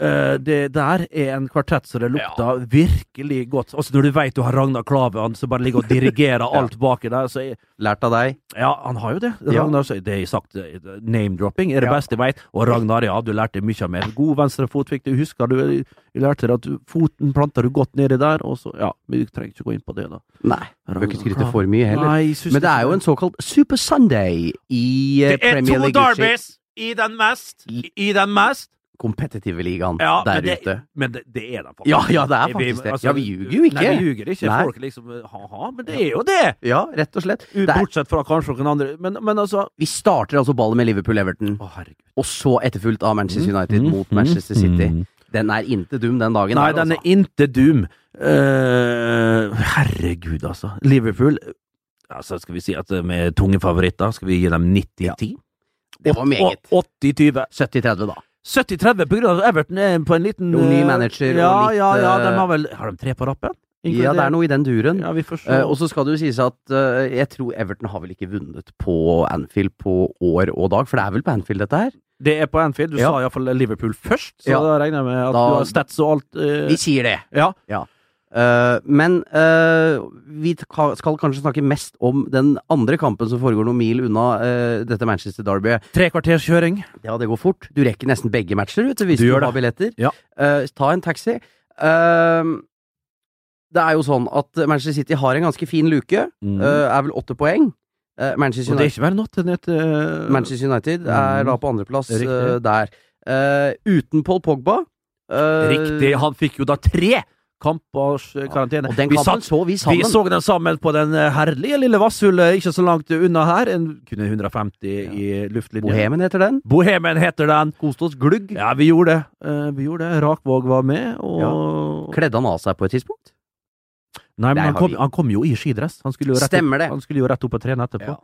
Speaker 1: Eh, det der er en kvartett som det lukta virkelig godt. Altså Når du veit du har Ragnar Klave, han som bare ligger og dirigerer alt baki der, så er
Speaker 2: Lært av deg.
Speaker 1: ja, han har jo det.
Speaker 2: Ja.
Speaker 1: Ragnar, det er sagt eh, Name-dropping er det
Speaker 2: Ja.
Speaker 1: beste jeg veit. Og Ragnar, ja, du lærte mye mer. God venstrefot fikk du. Husker du jeg lærte deg at du, foten planta du godt nedi der, og så Ja, vi trenger ikke gå inn på det, da.
Speaker 2: Nei. Bør ikke skryte for mye heller.
Speaker 1: Nei, jeg synes
Speaker 2: Men det er jo en såkalt Super Sunday i eh,
Speaker 1: Det er
Speaker 2: Premier
Speaker 1: to
Speaker 2: League.
Speaker 1: derbys! i den mest, i den mest.
Speaker 2: Kompetitive ligaen
Speaker 1: Ja,
Speaker 2: der
Speaker 1: men det,
Speaker 2: ute.
Speaker 1: Men det, det er den faktisk.
Speaker 2: Ja,
Speaker 1: altså,
Speaker 2: ja, det er faktisk det. Ja, vi ljuger jo ikke.
Speaker 1: Nei, vi ljuger ikke.
Speaker 2: Nei.
Speaker 1: Folk liksom ha-ha, men det er jo det!
Speaker 2: Ja, rett og slett. Det er,
Speaker 1: Bortsett fra kanskje noen andre. Men, men altså Mm.
Speaker 2: vi starter altså ballet med Liverpool-Everton,
Speaker 1: Å, herregud.
Speaker 2: og så etterfulgt av
Speaker 1: Mhm,
Speaker 2: Manchester United mot
Speaker 1: Mm.
Speaker 2: Manchester City. Den er inte dum, den dagen.
Speaker 1: Nei,
Speaker 2: her,
Speaker 1: den er
Speaker 2: altså.
Speaker 1: inte dum. Eh, herregud, altså. Liverpool Altså, Skal vi si at med tunge favoritter, skal vi gi dem 90-10?
Speaker 2: Det var meget.
Speaker 1: 80-20.
Speaker 2: 70-30, altså. da.
Speaker 1: 70-30 på grunn av at Everton er på en liten
Speaker 2: Jo, ny
Speaker 1: eh,
Speaker 2: manager og
Speaker 1: ja,
Speaker 2: litt,
Speaker 1: Ja, ja, de
Speaker 2: eh,
Speaker 1: har vel Har de tre på rappen?
Speaker 2: Ja, det er noe i den duren.
Speaker 1: Ja, vi får se.
Speaker 2: Eh, og så skal det jo sies at eh, jeg tror Everton har vel ikke vunnet på Anfield på år og dag, for det er vel på Anfield dette her?
Speaker 1: det er på Anfield. Du
Speaker 2: Ja.
Speaker 1: sa sa iallfall Liverpool først, så
Speaker 2: Ja.
Speaker 1: da regner jeg med at
Speaker 2: Da-
Speaker 1: du har stats og alt. eh,
Speaker 2: Vi sier det!
Speaker 1: ja.
Speaker 2: Eh, men eh, vi ka- skal kanskje snakke mest om den andre kampen som foregår noen mil unna eh, dette Manchester Derbyet.
Speaker 1: Tre kvarters kjøring.
Speaker 2: Ja, det går fort. Du rekker nesten begge matcher vet du, hvis
Speaker 1: Du
Speaker 2: du,
Speaker 1: gjør
Speaker 2: har billetter.
Speaker 1: Ja.
Speaker 2: Eh, ta en taxi. Eh, det er jo sånn at Manchester City har en ganske fin luke. eh, er vel åtte poeng. Eh, Manchester
Speaker 1: Og det
Speaker 2: United
Speaker 1: er ikke verre natt enn et eh,
Speaker 2: Manchester United er
Speaker 1: Mm.
Speaker 2: da på andreplass
Speaker 1: Riktig.
Speaker 2: uh, der. Eh, uten Paul Pogba. eh,
Speaker 1: Riktig. Han fikk jo da tre kampers eh, karantene.
Speaker 2: Og den
Speaker 1: Vi
Speaker 2: kampen
Speaker 1: satt-
Speaker 2: så vi sammen.
Speaker 1: Vi så den sammen på den eh, herlige lille vasshullet ikke så langt unna her. En, kun 150 i luftlinjen.
Speaker 2: Bohemen heter den.
Speaker 1: Bohemen heter den.
Speaker 2: Koste oss glugg.
Speaker 1: Ja, vi gjorde det. Eh, vi gjorde det. Rakvåg var med, og
Speaker 2: Kledde han av seg på et tidspunkt?
Speaker 1: Nei,
Speaker 2: Der
Speaker 1: men han
Speaker 2: har
Speaker 1: kom,
Speaker 2: vi-
Speaker 1: han kom jo i skidress. Han skulle jo rett,
Speaker 2: Stemmer det.
Speaker 1: opp, han skulle jo rett opp og trene etterpå.
Speaker 2: Ja.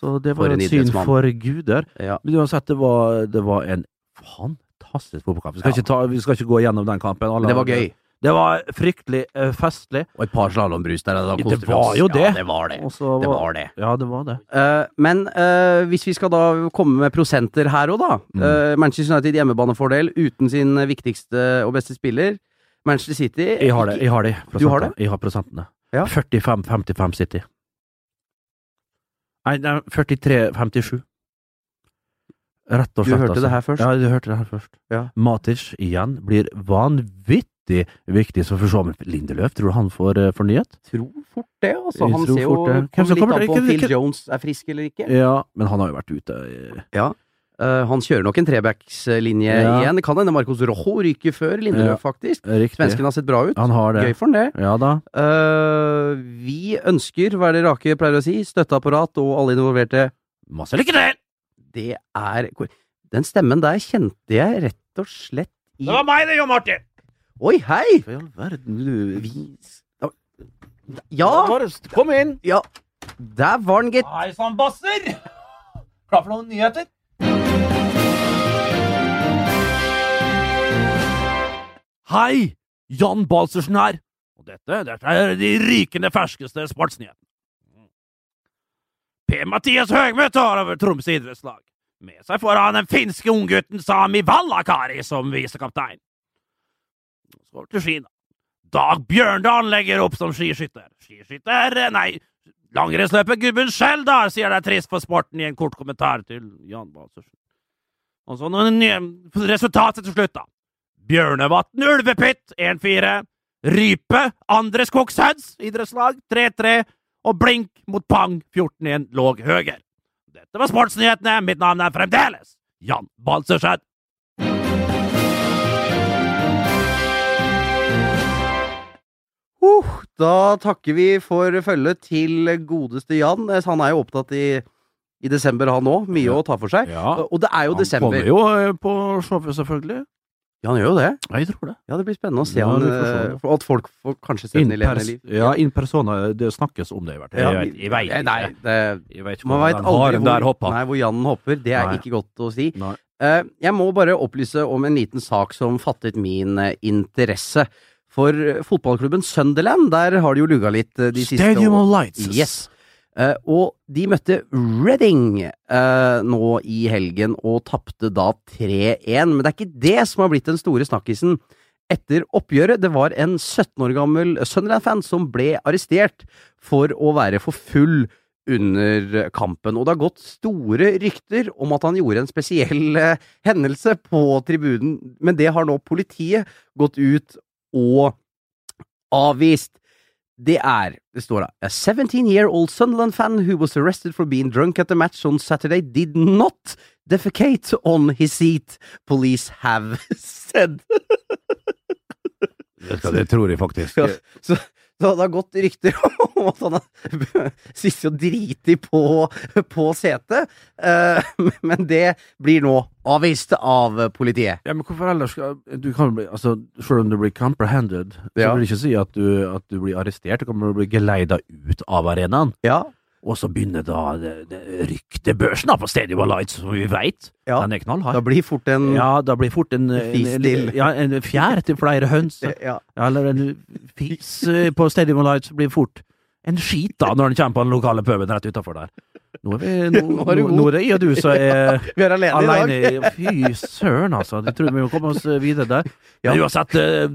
Speaker 1: Så det
Speaker 2: For
Speaker 1: var
Speaker 2: en
Speaker 1: et syn
Speaker 2: idrettsmann.
Speaker 1: for guder.
Speaker 2: Ja.
Speaker 1: Men uansett, det var, det var en fantastisk fotballkamp. Vi skal,
Speaker 2: Ja.
Speaker 1: ikke ta, vi skal ikke gå gjennom den kampen. Alle-
Speaker 2: Men det var gøy.
Speaker 1: Det var fryktelig eh, festlig.
Speaker 2: Og et par slalåmbrus der. Da koste
Speaker 1: Det
Speaker 2: vi
Speaker 1: var
Speaker 2: oss.
Speaker 1: jo
Speaker 2: Ja,
Speaker 1: det.
Speaker 2: det var det.
Speaker 1: Og så
Speaker 2: Det var det.
Speaker 1: Ja, det var det.
Speaker 2: Eh, men eh, hvis vi skal da komme med prosenter her òg, da. Eh, Manchester United hjemmebanefordel uten sin viktigste og beste spiller. Manchester City
Speaker 1: Jeg har det. Jeg har de
Speaker 2: Du har det?
Speaker 1: prosentene. Jeg har prosentene.
Speaker 2: Ja.
Speaker 1: 45-55 City. Nei, nei 43-57. Rett og
Speaker 2: Du
Speaker 1: slett. altså.
Speaker 2: hørte det her først?
Speaker 1: Ja, du hørte det her først.
Speaker 2: Ja.
Speaker 1: Matic igjen blir vanvittig viktig. Så får vi se om Lindeløf tror du han får eh, fornyet.
Speaker 2: tror fort det, altså.
Speaker 1: Jeg
Speaker 2: Han
Speaker 1: tror
Speaker 2: ser jo
Speaker 1: fort det. Hvem
Speaker 2: kommer
Speaker 1: som
Speaker 2: litt
Speaker 1: kommer
Speaker 2: an
Speaker 1: det?
Speaker 2: på om
Speaker 1: Hvem-
Speaker 2: Phil
Speaker 1: hvem-
Speaker 2: Jones er frisk eller ikke.
Speaker 1: Ja, men han har jo vært ute. eh,
Speaker 2: Eh, han kjører nok en trebackslinje
Speaker 1: Ja.
Speaker 2: igjen. Det kan hende Marcos Rojo ryker før Lindeløf,
Speaker 1: Ja.
Speaker 2: faktisk.
Speaker 1: Riktig.
Speaker 2: Svensken har sett bra ut.
Speaker 1: Han har det.
Speaker 2: Gøy for han, det.
Speaker 1: Ja da.
Speaker 2: Eh, vi ønsker, hva er det Rake pleier å si, støtteapparat og alle involverte.
Speaker 1: Masse lykke til!
Speaker 2: Det er kor- Den stemmen der kjente jeg rett og slett i
Speaker 1: Det var meg det, Jon Martin!
Speaker 2: Oi, hei!
Speaker 1: Hva i all verden, du Vis.
Speaker 2: Ja,
Speaker 1: Bare Kom inn!
Speaker 2: ja. der var den, gitt.
Speaker 1: Hei sann, basser! Klar for noen nyheter? Hei! Jan Balsersen her. Og dette, dette er de rykende ferskeste sportsnyhetene. Per-Mathias Høgmø tar over Tromsø idrettslag. Med seg får han den finske unggutten Sami Vallakari som visekaptein. Så over til Kina. Dag Bjørndalen legger opp som skiskytter. Skiskytter Nei, langrennsløper Gubben selv, da, sier det er trist for sporten i en kort kommentar til Jan Balsersen. Og så noen nye resultatet til slutt, da. Bjørnevatn ulvepytt 1-4. Rype andre skogshøns idrettslag 3-3. Og blink mot pang 14-1 låg høger. Dette var sportsnyhetene. Mitt navn er fremdeles Jan Balsersen.
Speaker 2: Uh, da takker vi for følget til godeste Jan. Eh, Han er jo opptatt i, i desember, han òg. Mye å ta for seg.
Speaker 1: Ja.
Speaker 2: Og det er jo desember.
Speaker 1: eh, på showet, selvfølgelig.
Speaker 2: Ja, han gjør jo det.
Speaker 1: Jeg tror det.
Speaker 2: Ja, det blir spennende å se
Speaker 1: Ja,
Speaker 2: han,
Speaker 1: vi får se det.
Speaker 2: eh, for at folk får kanskje se
Speaker 1: In
Speaker 2: den i levende liv.
Speaker 1: ja, in persona. Det snakkes om det. i hvert fall.
Speaker 2: Ja, eh,
Speaker 1: Jeg vet- jeg vet
Speaker 2: Nei,
Speaker 1: ikke.
Speaker 2: nei, det,
Speaker 1: Jeg vet ikke
Speaker 2: man
Speaker 1: hvordan
Speaker 2: veit
Speaker 1: den
Speaker 2: aldri
Speaker 1: haren der hoppa.
Speaker 2: hvor, nei, hvor Jan hopper. Det er
Speaker 1: Nei.
Speaker 2: ikke godt å si.
Speaker 1: Nei.
Speaker 2: Eh, jeg må bare opplyse om en liten sak som fattet min eh, interesse. For eh, fotballklubben Sunderland, der har det jo lugga litt eh, de siste
Speaker 1: Stadium
Speaker 2: årene.
Speaker 1: of Lights.
Speaker 2: Yes. Eh, og de møtte Reading eh, nå i helgen og tapte da 3-1. Men det er ikke det som har blitt den store snakkisen etter oppgjøret. Det var en 17 år gammel Sunderland-fan som ble arrestert for å være for full under kampen. Og det har gått store rykter om at han gjorde en spesiell eh, hendelse på tribunen, men det har nå politiet gått ut og avvist. Det er, det står da, a 17-year-old Sunderland fan who was arrested for being drunk at the match on Saturday did not defecate on his seat. Police have said.
Speaker 4: Det, skal, det tror jeg faktisk.
Speaker 2: Ja, så, så det har gått rykter om at han har sittet og driti på, på setet, eh, men det blir nå avvist av politiet.
Speaker 1: Ja, men hvorfor ellers skal du kan bli, altså, Selv om du blir comprehended, så
Speaker 2: Ja.
Speaker 1: vil det ikke si at du, at du blir arrestert. Du kan bli geleida ut av arenaen.
Speaker 2: Ja,
Speaker 1: Og så begynner da det- det ryktebørsen da, på Stadium of Lights, som vi veit.
Speaker 2: Ja.
Speaker 1: Den er knallhard.
Speaker 2: da blir fort en
Speaker 1: ja, da blir fort en, en,
Speaker 2: Fis til.
Speaker 1: en, ja, en fjær til flere høns.
Speaker 2: Ja.
Speaker 1: Ja, Eller en fis eh, på Stadium of Lights blir fort en skit da, når den kommer på den lokale puben rett utafor der. Nå er, vi, nå,
Speaker 2: Nå
Speaker 1: nå,
Speaker 2: er du god.
Speaker 1: nå er det jeg og du som er
Speaker 2: Vi er alene
Speaker 1: alene.
Speaker 2: i dag.
Speaker 1: i- Fy søren, altså. Jeg tror vi må komme oss videre der.
Speaker 2: Ja.
Speaker 1: Men uansett, eh,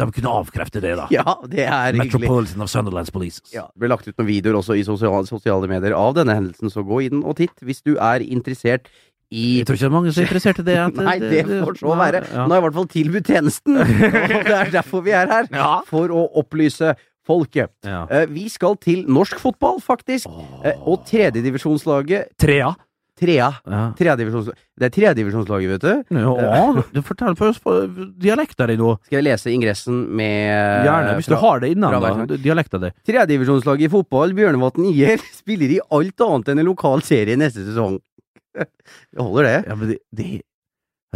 Speaker 1: de kunne avkrefte det, da.
Speaker 2: Ja, det er hyggelig.
Speaker 1: Metropolitan of Sunderlands Police.
Speaker 2: Ja, det ble lagt ut noen videoer også i sosiale, sosiale medier av denne hendelsen, så gå inn og titt hvis du er interessert i
Speaker 1: Jeg tror ikke det er mange som er interessert i det. at-
Speaker 2: Nei, det får så
Speaker 1: Nei,
Speaker 2: være.
Speaker 1: ja.
Speaker 2: Nå har jeg i hvert fall tilbudt tjenesten, og det er derfor vi er her.
Speaker 1: Ja.
Speaker 2: For å opplyse folket.
Speaker 1: Ja.
Speaker 2: Eh, Vi skal til norsk fotball, faktisk. Eh, Og tredjedivisjonslaget
Speaker 1: Trea.
Speaker 2: Trea.
Speaker 1: Ja.
Speaker 2: Tredjedivisjons- Det er tredjedivisjonslaget, vet du.
Speaker 1: Ja, du forteller på oss på dialekta di nå.
Speaker 2: Skal jeg lese ingressen med
Speaker 1: Gjerne, hvis du
Speaker 2: fra-
Speaker 1: har det innan,
Speaker 2: fra-
Speaker 1: da. Dialekta di.
Speaker 2: Tredjedivisjonslaget i fotball, Bjørnevatn IR, spiller i alt annet enn en lokal serie neste sesong. Det holder, det.
Speaker 1: Ja, men det, det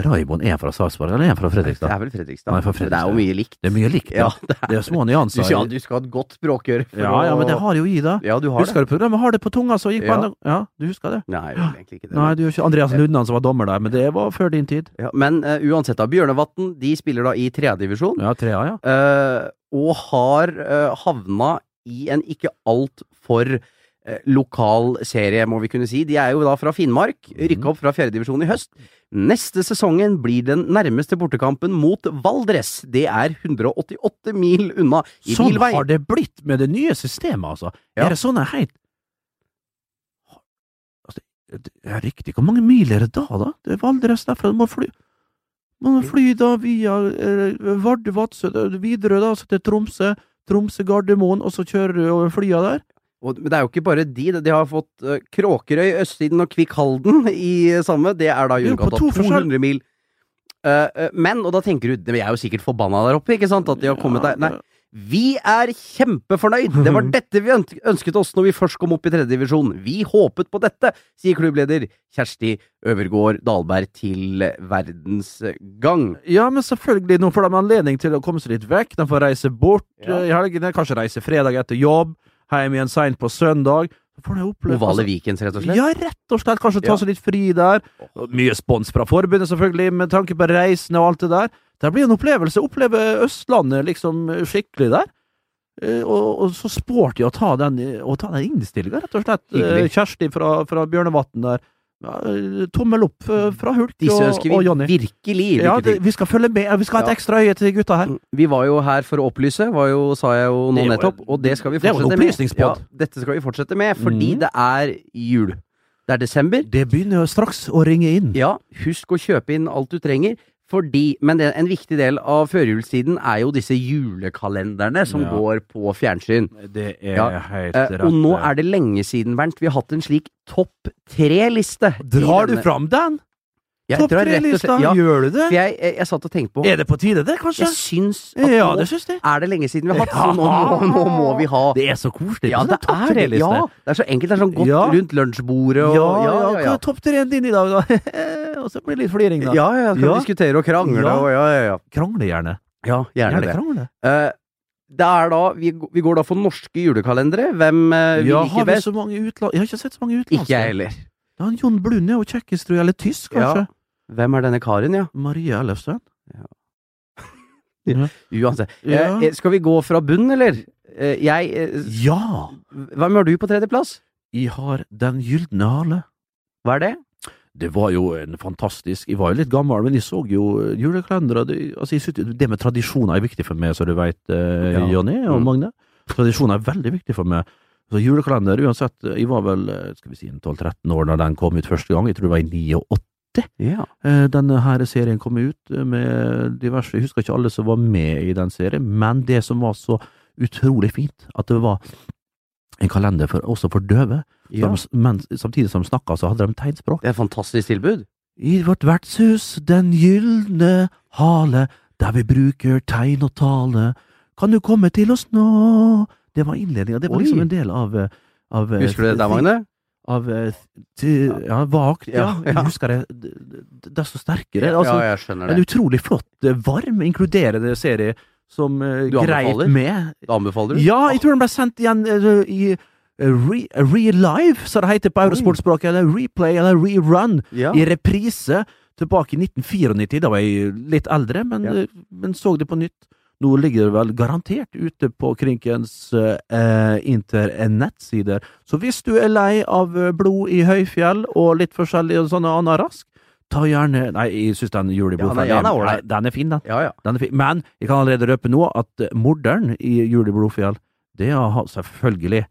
Speaker 1: Raymond er fra Sarpsborg, eller er han fra
Speaker 2: Det
Speaker 1: Fredrikstad?
Speaker 2: er vel Fredrikstad.
Speaker 1: Nei, for
Speaker 2: Men Det er jo
Speaker 1: Fredrikstad.
Speaker 2: mye likt.
Speaker 1: Det er mye likt,
Speaker 2: Ja,
Speaker 1: ja.
Speaker 2: det er.
Speaker 1: Det er små
Speaker 2: Du,
Speaker 1: nyanser.
Speaker 2: ja, du skal ha et godt språkøre. for
Speaker 1: Ja, ja,
Speaker 2: å-
Speaker 1: men det har jo i det.
Speaker 2: Ja, du har
Speaker 1: Husker du programmet Har det på tunga, så gikk
Speaker 2: Ja.
Speaker 1: man Ja, du husker det?
Speaker 2: det. Nei, vel, egentlig ikke det.
Speaker 1: Nei, du gjør ikke Andreas Lundan som var dommer der, men det var før din tid.
Speaker 2: Ja, men eh, uansett, da. Bjørnevatn de spiller da i tredjedivisjon,
Speaker 1: Ja, Trea, ja.
Speaker 2: uh, og har eh, havna i en ikke altfor eh, lokal serie, må vi kunne si. De er jo da fra Finnmark,
Speaker 1: Mhm.
Speaker 2: rykka opp fra fjerdedivisjon i høst. Neste sesongen blir den nærmeste bortekampen mot Valdres. Det er 188 mil unna i
Speaker 1: Sånn
Speaker 2: bilvei.
Speaker 1: har det blitt med det nye systemet, altså.
Speaker 2: Ja.
Speaker 1: Er det sånn er helt altså, det er riktig. Hvor mange mil er det da, da? Det er Valdres derfra. Du må fly Man må fly da via eh, Vardø, Vadsø, da- Widerøe, da, så til Tromsø. Tromsø, Gardermoen, og så kjører du over flya der.
Speaker 2: Og, men det er jo ikke bare de. De har fått eh, Kråkerøy, Østsiden og Kvikkhalden i eh, samme. Det er da i
Speaker 1: Jo, på
Speaker 2: underkant av
Speaker 1: to
Speaker 2: 200 mil. Eh, eh, men, og da tenker du Jeg er jo sikkert forbanna der oppe, ikke sant? At de har kommet der. Nei. Vi er kjempefornøyd! Det var dette vi ønsk- ønsket oss når vi først kom opp i tredjedivisjon. Vi håpet på dette, sier klubbleder Kjersti Øvergård Dahlberg til Verdens eh, Gang.
Speaker 1: Ja, men selvfølgelig. Nå får de anledning til å komme seg litt vekk. De får reise bort
Speaker 2: Ja.
Speaker 1: eh, i helgene, kanskje reise fredag etter jobb, hjem igjen seint på søndag. Så får de oppleve
Speaker 2: Ovale Vikens, rett og slett.
Speaker 1: altså- Ja, rett og slett. Kanskje ta
Speaker 2: Ja.
Speaker 1: seg litt fri der. Og Mye spons fra forbundet, selvfølgelig, med tanke på reisene og alt det der. Det blir en opplevelse. Oppleve Østlandet liksom eh, skikkelig der. Eh, Og, og så sporty å ta den, eh, å ta den innstillinga, rett og slett. Eh,
Speaker 2: Hyggelig.
Speaker 1: Kjersti fra, fra Bjørnevatn der. Ja, eh, Tommel opp eh, fra Hulk
Speaker 2: Disse
Speaker 1: og,
Speaker 2: ønsker
Speaker 1: og Jonny.
Speaker 2: vi virkelig
Speaker 1: Ja,
Speaker 2: lykke
Speaker 1: det,
Speaker 2: til.
Speaker 1: vi skal følge med. Vi skal ha
Speaker 2: Ja.
Speaker 1: et ekstra øye til gutta her.
Speaker 2: Vi var jo her for å opplyse, var jo, sa jeg jo nå
Speaker 1: Det var-
Speaker 2: nettopp, og det skal vi
Speaker 1: det var en
Speaker 2: fortsette med.
Speaker 1: opplysningspod.
Speaker 2: dette skal vi fortsette med, fordi
Speaker 1: Mm.
Speaker 2: det er jul. Det er desember.
Speaker 1: Det begynner jo straks å ringe inn.
Speaker 2: Ja, husk å kjøpe inn alt du trenger, fordi Men det, en viktig del av førjulstiden er jo disse julekalenderne som
Speaker 1: Ja.
Speaker 2: går på fjernsyn.
Speaker 1: Det er
Speaker 2: Ja.
Speaker 1: helt
Speaker 2: Eh, og nå er det lenge siden, Bernt, vi har hatt en slik topp tre-liste. i
Speaker 1: Drar du
Speaker 2: denne-
Speaker 1: fram den?
Speaker 2: Jeg
Speaker 1: Topp
Speaker 2: drar rett og slett-
Speaker 1: tre-lista?
Speaker 2: Ja,
Speaker 1: Gjør du det?
Speaker 2: for jeg, jeg, jeg satt og tenkte på
Speaker 1: Er det på tide, det, kanskje?
Speaker 2: Jeg syns at
Speaker 1: Ja,
Speaker 2: nå
Speaker 1: det syns jeg.
Speaker 2: er det lenge siden vi har hatt, så nå må, nå må vi ha
Speaker 1: Det er så koselig. Sånn
Speaker 2: Ja, det
Speaker 1: topp
Speaker 2: er det.
Speaker 1: tre-liste.
Speaker 2: Ja, det er så enkelt. Det er sånn godt
Speaker 1: Ja.
Speaker 2: rundt lunsjbordet
Speaker 1: Ja,
Speaker 2: og
Speaker 1: ja, Hva er topp tre-en din i dag, da? og så blir det litt fliring, da.
Speaker 2: Ja, ja, kan
Speaker 1: Ja.
Speaker 2: diskutere og krangle
Speaker 1: Ja.
Speaker 2: og ja, ja, ja.
Speaker 1: Krangle gjerne.
Speaker 2: Ja, gjerne det.
Speaker 1: krangle.
Speaker 2: Eh, det er da, vi, g- vi går da for norske julekalendere. Hvem eh, vi
Speaker 1: ja,
Speaker 2: liker
Speaker 1: har vi
Speaker 2: best.
Speaker 1: så mange utland... Jeg har ikke sett så mange utenlandske.
Speaker 2: Ikke jeg heller.
Speaker 1: Ja, Jon Blund er jo kjekkest, tror jeg. Eller tysk,
Speaker 2: Ja.
Speaker 1: kanskje.
Speaker 2: Hvem er denne karen, ja?
Speaker 1: Maria Ellefsen.
Speaker 2: Uansett.
Speaker 1: Ja.
Speaker 2: Eh, eh, skal vi gå fra bunn, eller? Eh, jeg eh, s-
Speaker 1: Ja!
Speaker 2: Hvem har du på tredjeplass?
Speaker 1: Jeg har Den gylne hale.
Speaker 2: Hva er det?
Speaker 1: Det var jo en fantastisk Jeg var jo litt gammel, men jeg så jo eh, julekalendere. og Det, altså, jeg synes, det med tradisjoner er viktig for meg, så du veit, eh,
Speaker 2: Ja.
Speaker 1: Jonny og
Speaker 2: Mm.
Speaker 1: Magne. Tradisjoner er veldig viktig for meg. Så julekalender, uansett eh, Jeg var vel eh, skal vi si, en 12-13 år da den kom ut første gang. Jeg tror det var i 89.
Speaker 2: Ja.
Speaker 1: Eh, Denne her serien kom ut eh, med diverse Jeg husker ikke alle som var med i den serien, men det som var så utrolig fint, at det var en kalender for, også for døve.
Speaker 2: Ja.
Speaker 1: De, men samtidig som de snakka, så hadde de tegnspråk.
Speaker 2: Det er et fantastisk tilbud.
Speaker 1: I vårt vertshus, Den gylne hale, der vi bruker tegn og tale. Kan du komme til oss nå? Det var innledninga. Det var
Speaker 2: Oi.
Speaker 1: liksom en del av, eh, av eh,
Speaker 2: Husker du det der, Magne?
Speaker 1: Av, eh, ti- ja, vagt. Ja,
Speaker 2: Ja, ja.
Speaker 1: jeg husker det. D- d- Desto sterkere. Altså,
Speaker 2: ja, jeg skjønner
Speaker 1: en
Speaker 2: det.
Speaker 1: utrolig flott, eh, varm, inkluderende serie som eh,
Speaker 2: Du anbefaler?
Speaker 1: greit med
Speaker 2: Da anbefaler du?
Speaker 1: ja, jeg tror den ble sendt igjen eh, i eh, re, Real Live, som det heter på eurosportspråket, eller Replay eller Rerun,
Speaker 2: Ja.
Speaker 1: i reprise tilbake i 1994. Da var jeg litt eldre, men,
Speaker 2: Ja.
Speaker 1: eh, men så det på nytt. Nå ligger det vel garantert ute på Krinkens eh, internettsider. Så hvis du er lei av eh, blod i høyfjell og litt forskjellig og sånne annen rask, ta gjerne Nei, jeg syns den
Speaker 2: Ja, den er-
Speaker 1: juleblodfellen
Speaker 2: ja, den er ålreit.
Speaker 1: den er fin, den.
Speaker 2: Ja, ja.
Speaker 1: Den er fin. Men jeg kan allerede røpe nå at eh, morderen i Jul i Blodfjell, det er ha- selvfølgelig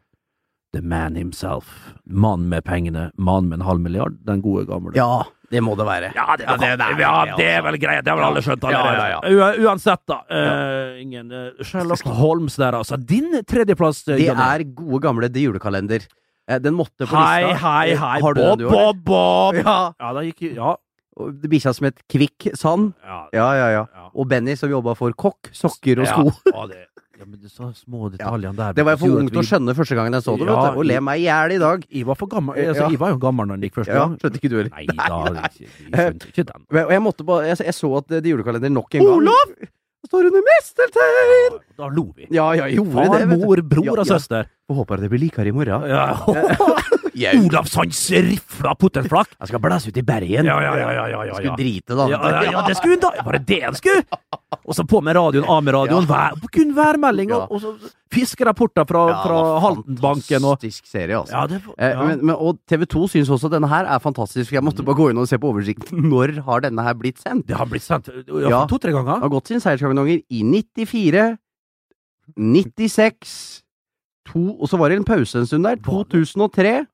Speaker 1: The Man Himself. Mannen med pengene. Mannen med en halv milliard. Den gode gamle.
Speaker 2: ja, det må det være.
Speaker 5: Ja, det, det, det, ja, det er vel greit. Det har vel alle skjønt allerede.
Speaker 2: altså. Ja, ja,
Speaker 1: U- Uansett, da. eh, ingen eh, Sherlock Holmes der, altså. Din tredjeplass, eh,
Speaker 2: Det
Speaker 1: Johnny.
Speaker 2: er gode gamle The Julekalender. Eh, Den måtte på
Speaker 5: Hei,
Speaker 2: lista. Eh,
Speaker 5: hei, hei.
Speaker 2: Har du den,
Speaker 5: Bob,
Speaker 2: du har?
Speaker 5: Bob, Bob!
Speaker 2: Ja.
Speaker 1: Ja, den gikk jo Ja.
Speaker 2: Og det Bikkja som het Kvikk Sand.
Speaker 1: ja.
Speaker 2: Ja, ja, ja.
Speaker 1: Ja.
Speaker 2: Og Benny som jobba for kokk, sokker og sko.
Speaker 1: Ja, det, ja, men de så små detaljene der.
Speaker 2: Det var jeg for
Speaker 1: gjorde
Speaker 2: ung
Speaker 1: at
Speaker 2: til å
Speaker 1: vi-
Speaker 2: skjønne første gangen jeg så det,
Speaker 1: Ja,
Speaker 2: vet du. Og le meg i hjel i dag.
Speaker 1: Jeg var for gammel. Altså,
Speaker 2: Ja.
Speaker 1: Jeg var jo gammel når den gikk første
Speaker 2: Ja,
Speaker 1: gang.
Speaker 2: skjønte ikke du heller.
Speaker 1: Nei da, jeg skjønte ikke den.
Speaker 2: Men- Og jeg måtte bare Jeg, jeg så at eh, The Julekalender nok en gang
Speaker 1: Olav!
Speaker 2: Står under mestertegn!
Speaker 1: Ja, Da lo vi.
Speaker 2: Ja, ja, jeg gjorde
Speaker 1: Far,
Speaker 2: det. vet du.
Speaker 1: mor, bror
Speaker 2: Ja,
Speaker 1: og
Speaker 2: ja.
Speaker 1: søster.
Speaker 2: Og håper det blir likere i morgen.
Speaker 1: Ja. Olavshands rifla potetflak!
Speaker 2: Jeg skal blæse ut i Bergen.
Speaker 1: Ja, ja, ja, ja, ja, ja, ja.
Speaker 2: Skulle drite, da.
Speaker 1: Ja, ja, ja, det skulle hun da! Var det det hun skulle? Og så på med radioen, av med radioen. Vær, kun værmelding, og, og så fiskerapporter fra,
Speaker 2: Ja, det
Speaker 1: fra
Speaker 2: var
Speaker 1: Haltenbanken og
Speaker 2: Fantastisk serie, altså.
Speaker 1: Ja, det var
Speaker 2: Eh,
Speaker 1: ja.
Speaker 2: Men, men, og TV2 syns også denne her er fantastisk. for Jeg måtte bare gå inn og se på oversikten. Når har denne her blitt sendt?
Speaker 1: Det har blitt sendt
Speaker 2: Ja.
Speaker 1: to-tre
Speaker 2: Den
Speaker 1: ganger.
Speaker 2: har gått sine seierskarbononger i 94, 96, to, og så var det en pause en stund der. 2003,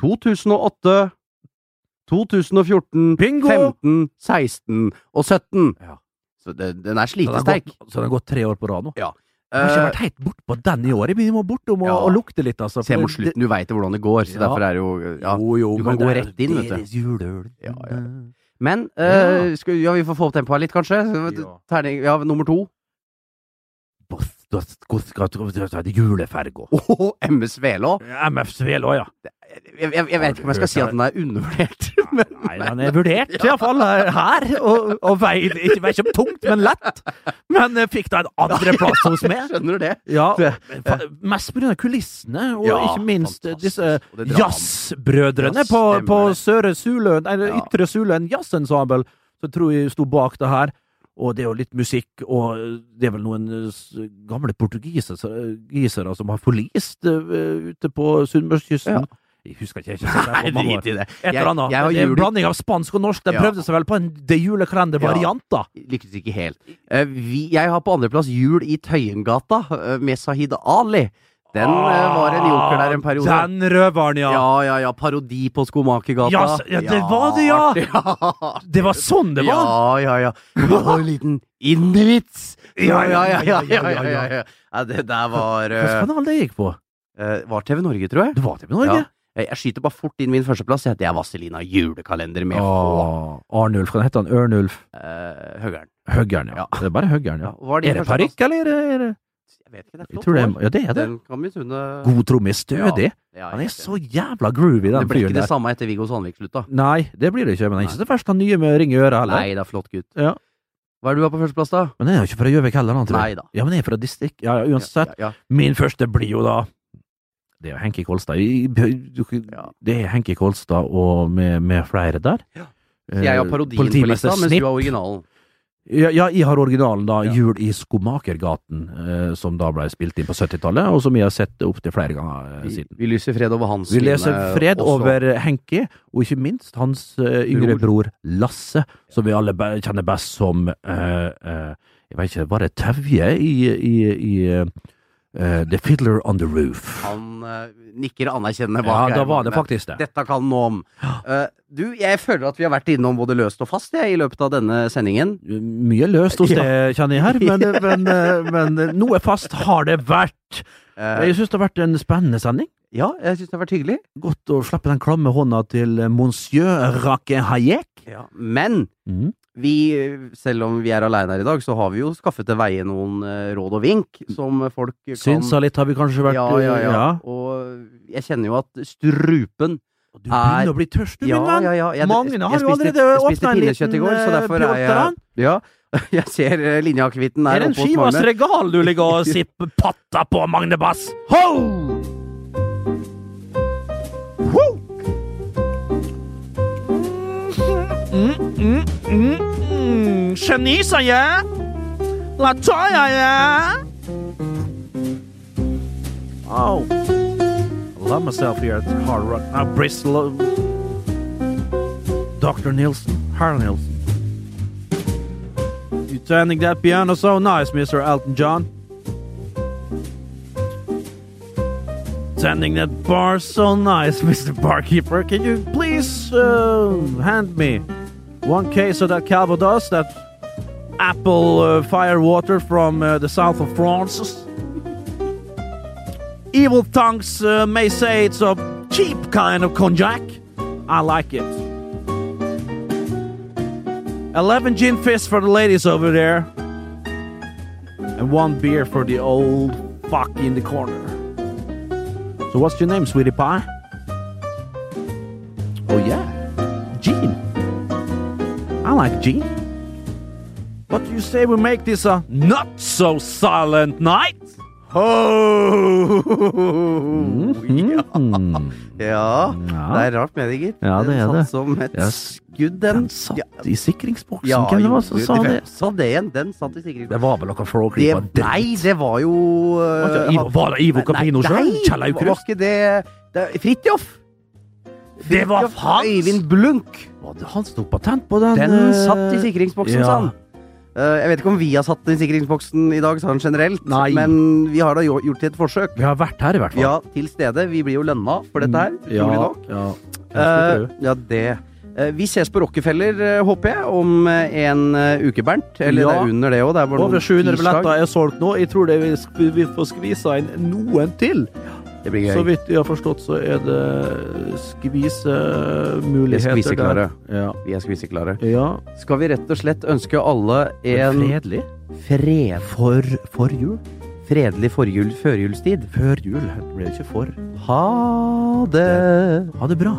Speaker 2: 2008, 2014,
Speaker 1: Bingo!
Speaker 2: 15, 16 og 17.
Speaker 1: Ja.
Speaker 2: Så det, den er
Speaker 1: Så den har gått-
Speaker 2: slitesterk.
Speaker 1: Så den har gått tre år på rad nå. Jeg har ikke
Speaker 2: Eh,
Speaker 1: vært helt bortpå den i år. Jeg begynner bortom å
Speaker 2: Ja.
Speaker 1: å lukte litt, altså.
Speaker 2: se
Speaker 1: for
Speaker 2: mot
Speaker 1: det-
Speaker 2: slutten, du veit jo hvordan det går, så
Speaker 1: Ja.
Speaker 2: derfor er det jo ja.
Speaker 1: Jo, jo,
Speaker 2: Du
Speaker 1: men
Speaker 2: kan gå
Speaker 1: det er
Speaker 2: rett inn, vet du.
Speaker 1: deres juleøl.
Speaker 2: Ja, ja. Men eh, skal, ja, vi får få opp tempoet litt, kanskje.
Speaker 1: Ja.
Speaker 2: Terning, ja, nummer to.
Speaker 1: Boss, da skal- skal- skal- skal- skal- Juleferga.
Speaker 2: Åh, MS Velå.
Speaker 5: Ja, MF Svelo, ja.
Speaker 2: Jeg, jeg, jeg vet ikke om jeg skal si at den er undervurdert. Men,
Speaker 1: Nei, den er vurdert, iallfall eh, her. Og, og veid ikke, vet ikke om tungt, men lett. Men eh, fikk da en andreplass hos meg.
Speaker 2: skjønner du det?
Speaker 1: Ja,
Speaker 2: Det-
Speaker 1: men fa- Mest pga. kulissene, og
Speaker 2: eh, Ja,
Speaker 1: ikke minst eh, disse
Speaker 2: fantastisk. Og det dramaet.
Speaker 1: jazzbrødrene
Speaker 2: Ja,
Speaker 1: på,
Speaker 2: stemmer
Speaker 1: på
Speaker 2: det.
Speaker 1: Søre Suløen, eller
Speaker 2: Ja.
Speaker 1: Ytre Suløen Jazzensemble, som tror jeg sto bak det her. Og det er jo litt musikk, og eh, det er vel noen eh, s- gamle portugisere eh, som har forlist eh, ute på
Speaker 2: Ja.
Speaker 1: sunnmørskysten. Jeg husker ikke. jeg har ikke sett det her på mange år.
Speaker 2: i det.
Speaker 1: Et eller annet.
Speaker 2: Jeg, jeg har
Speaker 1: det er en
Speaker 2: jul-
Speaker 1: blanding av spansk og norsk. De
Speaker 2: Ja.
Speaker 1: prøvde seg vel på en de julekalender-variant, da.
Speaker 2: Lyktes ikke helt. Eh, vi, jeg har på andreplass Jul i Tøyengata eh, med Sahid Ali. Den eh, var en joker der en periode.
Speaker 1: Ah, Den røveren, ja.
Speaker 2: Ja, ja, ja. Parodi på Skomakergata.
Speaker 1: Ja, s- ja, det var det, ja.
Speaker 2: artig, ja.
Speaker 1: Det var sånn det var!
Speaker 2: Ja, ja, ja. Det var en liten indervits.
Speaker 1: Ja, ja, ja, ja,
Speaker 2: ja,
Speaker 1: ja, ja,
Speaker 2: ja. Ja, det der var eh,
Speaker 1: Hvilken kanal det gikk på?
Speaker 2: eh, Var TV Norge, tror jeg.
Speaker 1: Det var TV Norge.
Speaker 2: Jeg jeg skyter bare fort inn min førsteplass. Jeg heter Vazelina Julekalender med H.
Speaker 1: Åh, Arnulf. Hva heter han? Ørnulf?
Speaker 2: Eh, Høgern.
Speaker 1: Høggern, ja.
Speaker 2: Ja.
Speaker 1: Det er bare Høggern, ja.
Speaker 2: Var din
Speaker 1: Er det
Speaker 2: førsteplass?
Speaker 1: parykk, eller? Er det,
Speaker 2: Jeg vet ikke, det er
Speaker 1: jeg
Speaker 2: flott.
Speaker 1: tror det er,
Speaker 2: hår.
Speaker 1: ja, det er det.
Speaker 2: Den kan misunne
Speaker 1: God trommis. Stødig.
Speaker 2: Ja,
Speaker 1: Han
Speaker 2: jeg
Speaker 1: er
Speaker 2: vet
Speaker 1: så jævla groovy,
Speaker 2: Det
Speaker 1: den
Speaker 2: Det ble ikke
Speaker 1: fyren
Speaker 2: det
Speaker 1: der.
Speaker 2: samme etter Viggo Sandvik slutta.
Speaker 1: Nei, det blir det ikke. Men det er ikke så verst han nye med ring i øret heller.
Speaker 2: Nei, det er flott gutt.
Speaker 1: Ja.
Speaker 2: Hva er det du har på førsteplass, da?
Speaker 1: Men han er jo ikke fra Gjøvik heller, han, tror jeg.
Speaker 2: Nei da.
Speaker 1: Ja, men han er fra distrikt... Ja, ja, uansett.
Speaker 2: Ja, ja,
Speaker 1: Min første blir jo da Det er jo Henki Kolstad. I- i-
Speaker 2: Ja.
Speaker 1: Det er Henki Kolstad og med, med flere der.
Speaker 2: ja. Jeg
Speaker 1: eh,
Speaker 2: har parodien på lista, mens du har originalen.
Speaker 1: Ja, ja, jeg har originalen, da.
Speaker 2: Ja.
Speaker 1: Jul i Skomakergaten, eh, som da ble spilt inn på 70-tallet, og som jeg har sett opptil flere ganger eh,
Speaker 2: Vi,
Speaker 1: siden.
Speaker 2: vi lyser fred over hans
Speaker 1: Vi leser
Speaker 2: minne
Speaker 1: fred
Speaker 2: også.
Speaker 1: over Henki, og ikke minst hans eh, yngre bror Lasse, som vi alle be- kjenner best som eh, eh, Jeg vet ikke, var det Tevje i, i, i eh, The Fiddler on the Roof?
Speaker 2: Han eh, nikker anerkjennende
Speaker 1: Ja,
Speaker 2: bak. her,
Speaker 1: da var det
Speaker 2: Magne.
Speaker 1: faktisk det.
Speaker 2: Dette kan han noe om. Eh, du, jeg føler at vi har vært innom både løst og fast jeg, i løpet av denne sendingen.
Speaker 1: Mye løst hos det, kjenner jeg her, eh, men, men, men noe fast har det vært.
Speaker 2: Eh,
Speaker 1: Jeg syns det har vært en spennende sending.
Speaker 2: Ja, jeg syns det har vært hyggelig.
Speaker 1: Godt å slappe den klamme hånda til eh, monsieur Rake Hayek.
Speaker 2: Men
Speaker 1: Mhm.
Speaker 2: vi, selv om vi er aleine her i dag, så har vi jo skaffet til veie noen eh, råd og vink som folk kan
Speaker 1: Synsa litt har vi kanskje vært eh,
Speaker 2: ja, ja, ja, Og jeg kjenner jo at strupen
Speaker 1: Du begynner
Speaker 2: Er-
Speaker 1: å bli tørst, du,
Speaker 2: ja,
Speaker 1: min venn.
Speaker 2: ja, ja, jeg-
Speaker 1: Mange
Speaker 2: jeg
Speaker 1: har jo
Speaker 2: spiste-
Speaker 1: allerede
Speaker 2: jeg spiste
Speaker 1: åpnet en
Speaker 2: pinnekjøtt i
Speaker 1: liten,
Speaker 2: går, så
Speaker 1: eh,
Speaker 2: derfor er jeg
Speaker 1: pjotteran.
Speaker 2: Ja, jeg ser eh, linjeakevitten
Speaker 1: Er
Speaker 2: er
Speaker 1: det en
Speaker 2: oppe hos
Speaker 1: skivas
Speaker 2: Magne.
Speaker 1: regal du ligger og sipper patta på, Magne Bass? Ho! Ho! Mm, mm, mm, mm. Geni, sa jeg. La ta jeg, jeg. Oh. Love myself here at Hard Rock. Now Bristol. Dr. Nielsen. Harry Nielsen. You turning that piano so nice, Mr. Elton John. Turning that bar so nice, Mr. Barkeeper. Can you please uh, hand me one case of that Calvados, that apple uh, fire water from uh, the south of France? Evil tongues uh, may say it's a cheap kind of cognac. I like it. 11 gin fists for the ladies over there. And one beer for the old fuck in the corner. So, what's your name, sweetie pie? Oh, yeah. Gene. I like Gene. What do you say we make this a not so silent night?
Speaker 2: Ho!
Speaker 1: Mm.
Speaker 2: Ja, det er rart med det, gitt.
Speaker 1: Ja, det er
Speaker 2: den
Speaker 1: det.
Speaker 2: satt som et
Speaker 1: Ja,
Speaker 2: skudd, den.
Speaker 1: Den satt
Speaker 2: Ja,
Speaker 1: i sikringsboksen.
Speaker 2: ja,
Speaker 1: Hvem
Speaker 2: jo,
Speaker 1: var det som
Speaker 2: jo,
Speaker 1: sa det?
Speaker 2: hvem Sa det igjen. Den satt i sikkerhet.
Speaker 1: Det var vel noe
Speaker 2: Det,
Speaker 1: flåklypa
Speaker 2: nei, det var jo eh, han-
Speaker 1: Var det Ivo Campino
Speaker 2: Nei,
Speaker 1: sjøl? Kjell
Speaker 2: Nei, var
Speaker 1: Aukrust?
Speaker 2: ikke det, det Fridtjof!
Speaker 1: Det var
Speaker 2: Fridtjof
Speaker 1: hans!
Speaker 2: Øyvind Blunk!
Speaker 1: Var det Han tok patent på den.
Speaker 2: Den
Speaker 1: eh,
Speaker 2: satt i sikringsboksen,
Speaker 1: ja.
Speaker 2: sa han. Eh, jeg vet ikke om vi har satt den i sikringsboksen i dag, sa han generelt,
Speaker 1: Nei.
Speaker 2: men vi har da jo- gjort et forsøk.
Speaker 1: Vi har vært her, i hvert fall. Mm,
Speaker 2: Ja, til stede. Vi blir jo lønna for dette her, trolig nok.
Speaker 1: Ja.
Speaker 2: Eh, ja, det. Eh, vi ses på Rockefeller, eh, håper jeg, om eh, en eh, uke, Bernt. Eller
Speaker 1: Ja.
Speaker 2: det er under det òg. Det er bare
Speaker 1: Over
Speaker 2: noen
Speaker 1: 700
Speaker 2: tirsdag.
Speaker 1: billetter er solgt nå. Jeg tror det vi, sk- vi får skvisa inn noen til.
Speaker 2: Det blir
Speaker 1: Så
Speaker 2: gøy.
Speaker 1: vidt jeg har forstått, så er det
Speaker 2: Vi er
Speaker 1: skvisemuligheter
Speaker 2: skviseklare.
Speaker 1: Ja.
Speaker 2: Vi er skviseklare.
Speaker 1: ja.
Speaker 2: Skal vi rett og slett ønske alle en
Speaker 1: Fredelig.
Speaker 2: fred,
Speaker 1: For, for jul.
Speaker 2: fredelig forjul, førjulstid?
Speaker 1: Før jul ble det ikke for.
Speaker 2: Ha det!
Speaker 1: Ha det bra.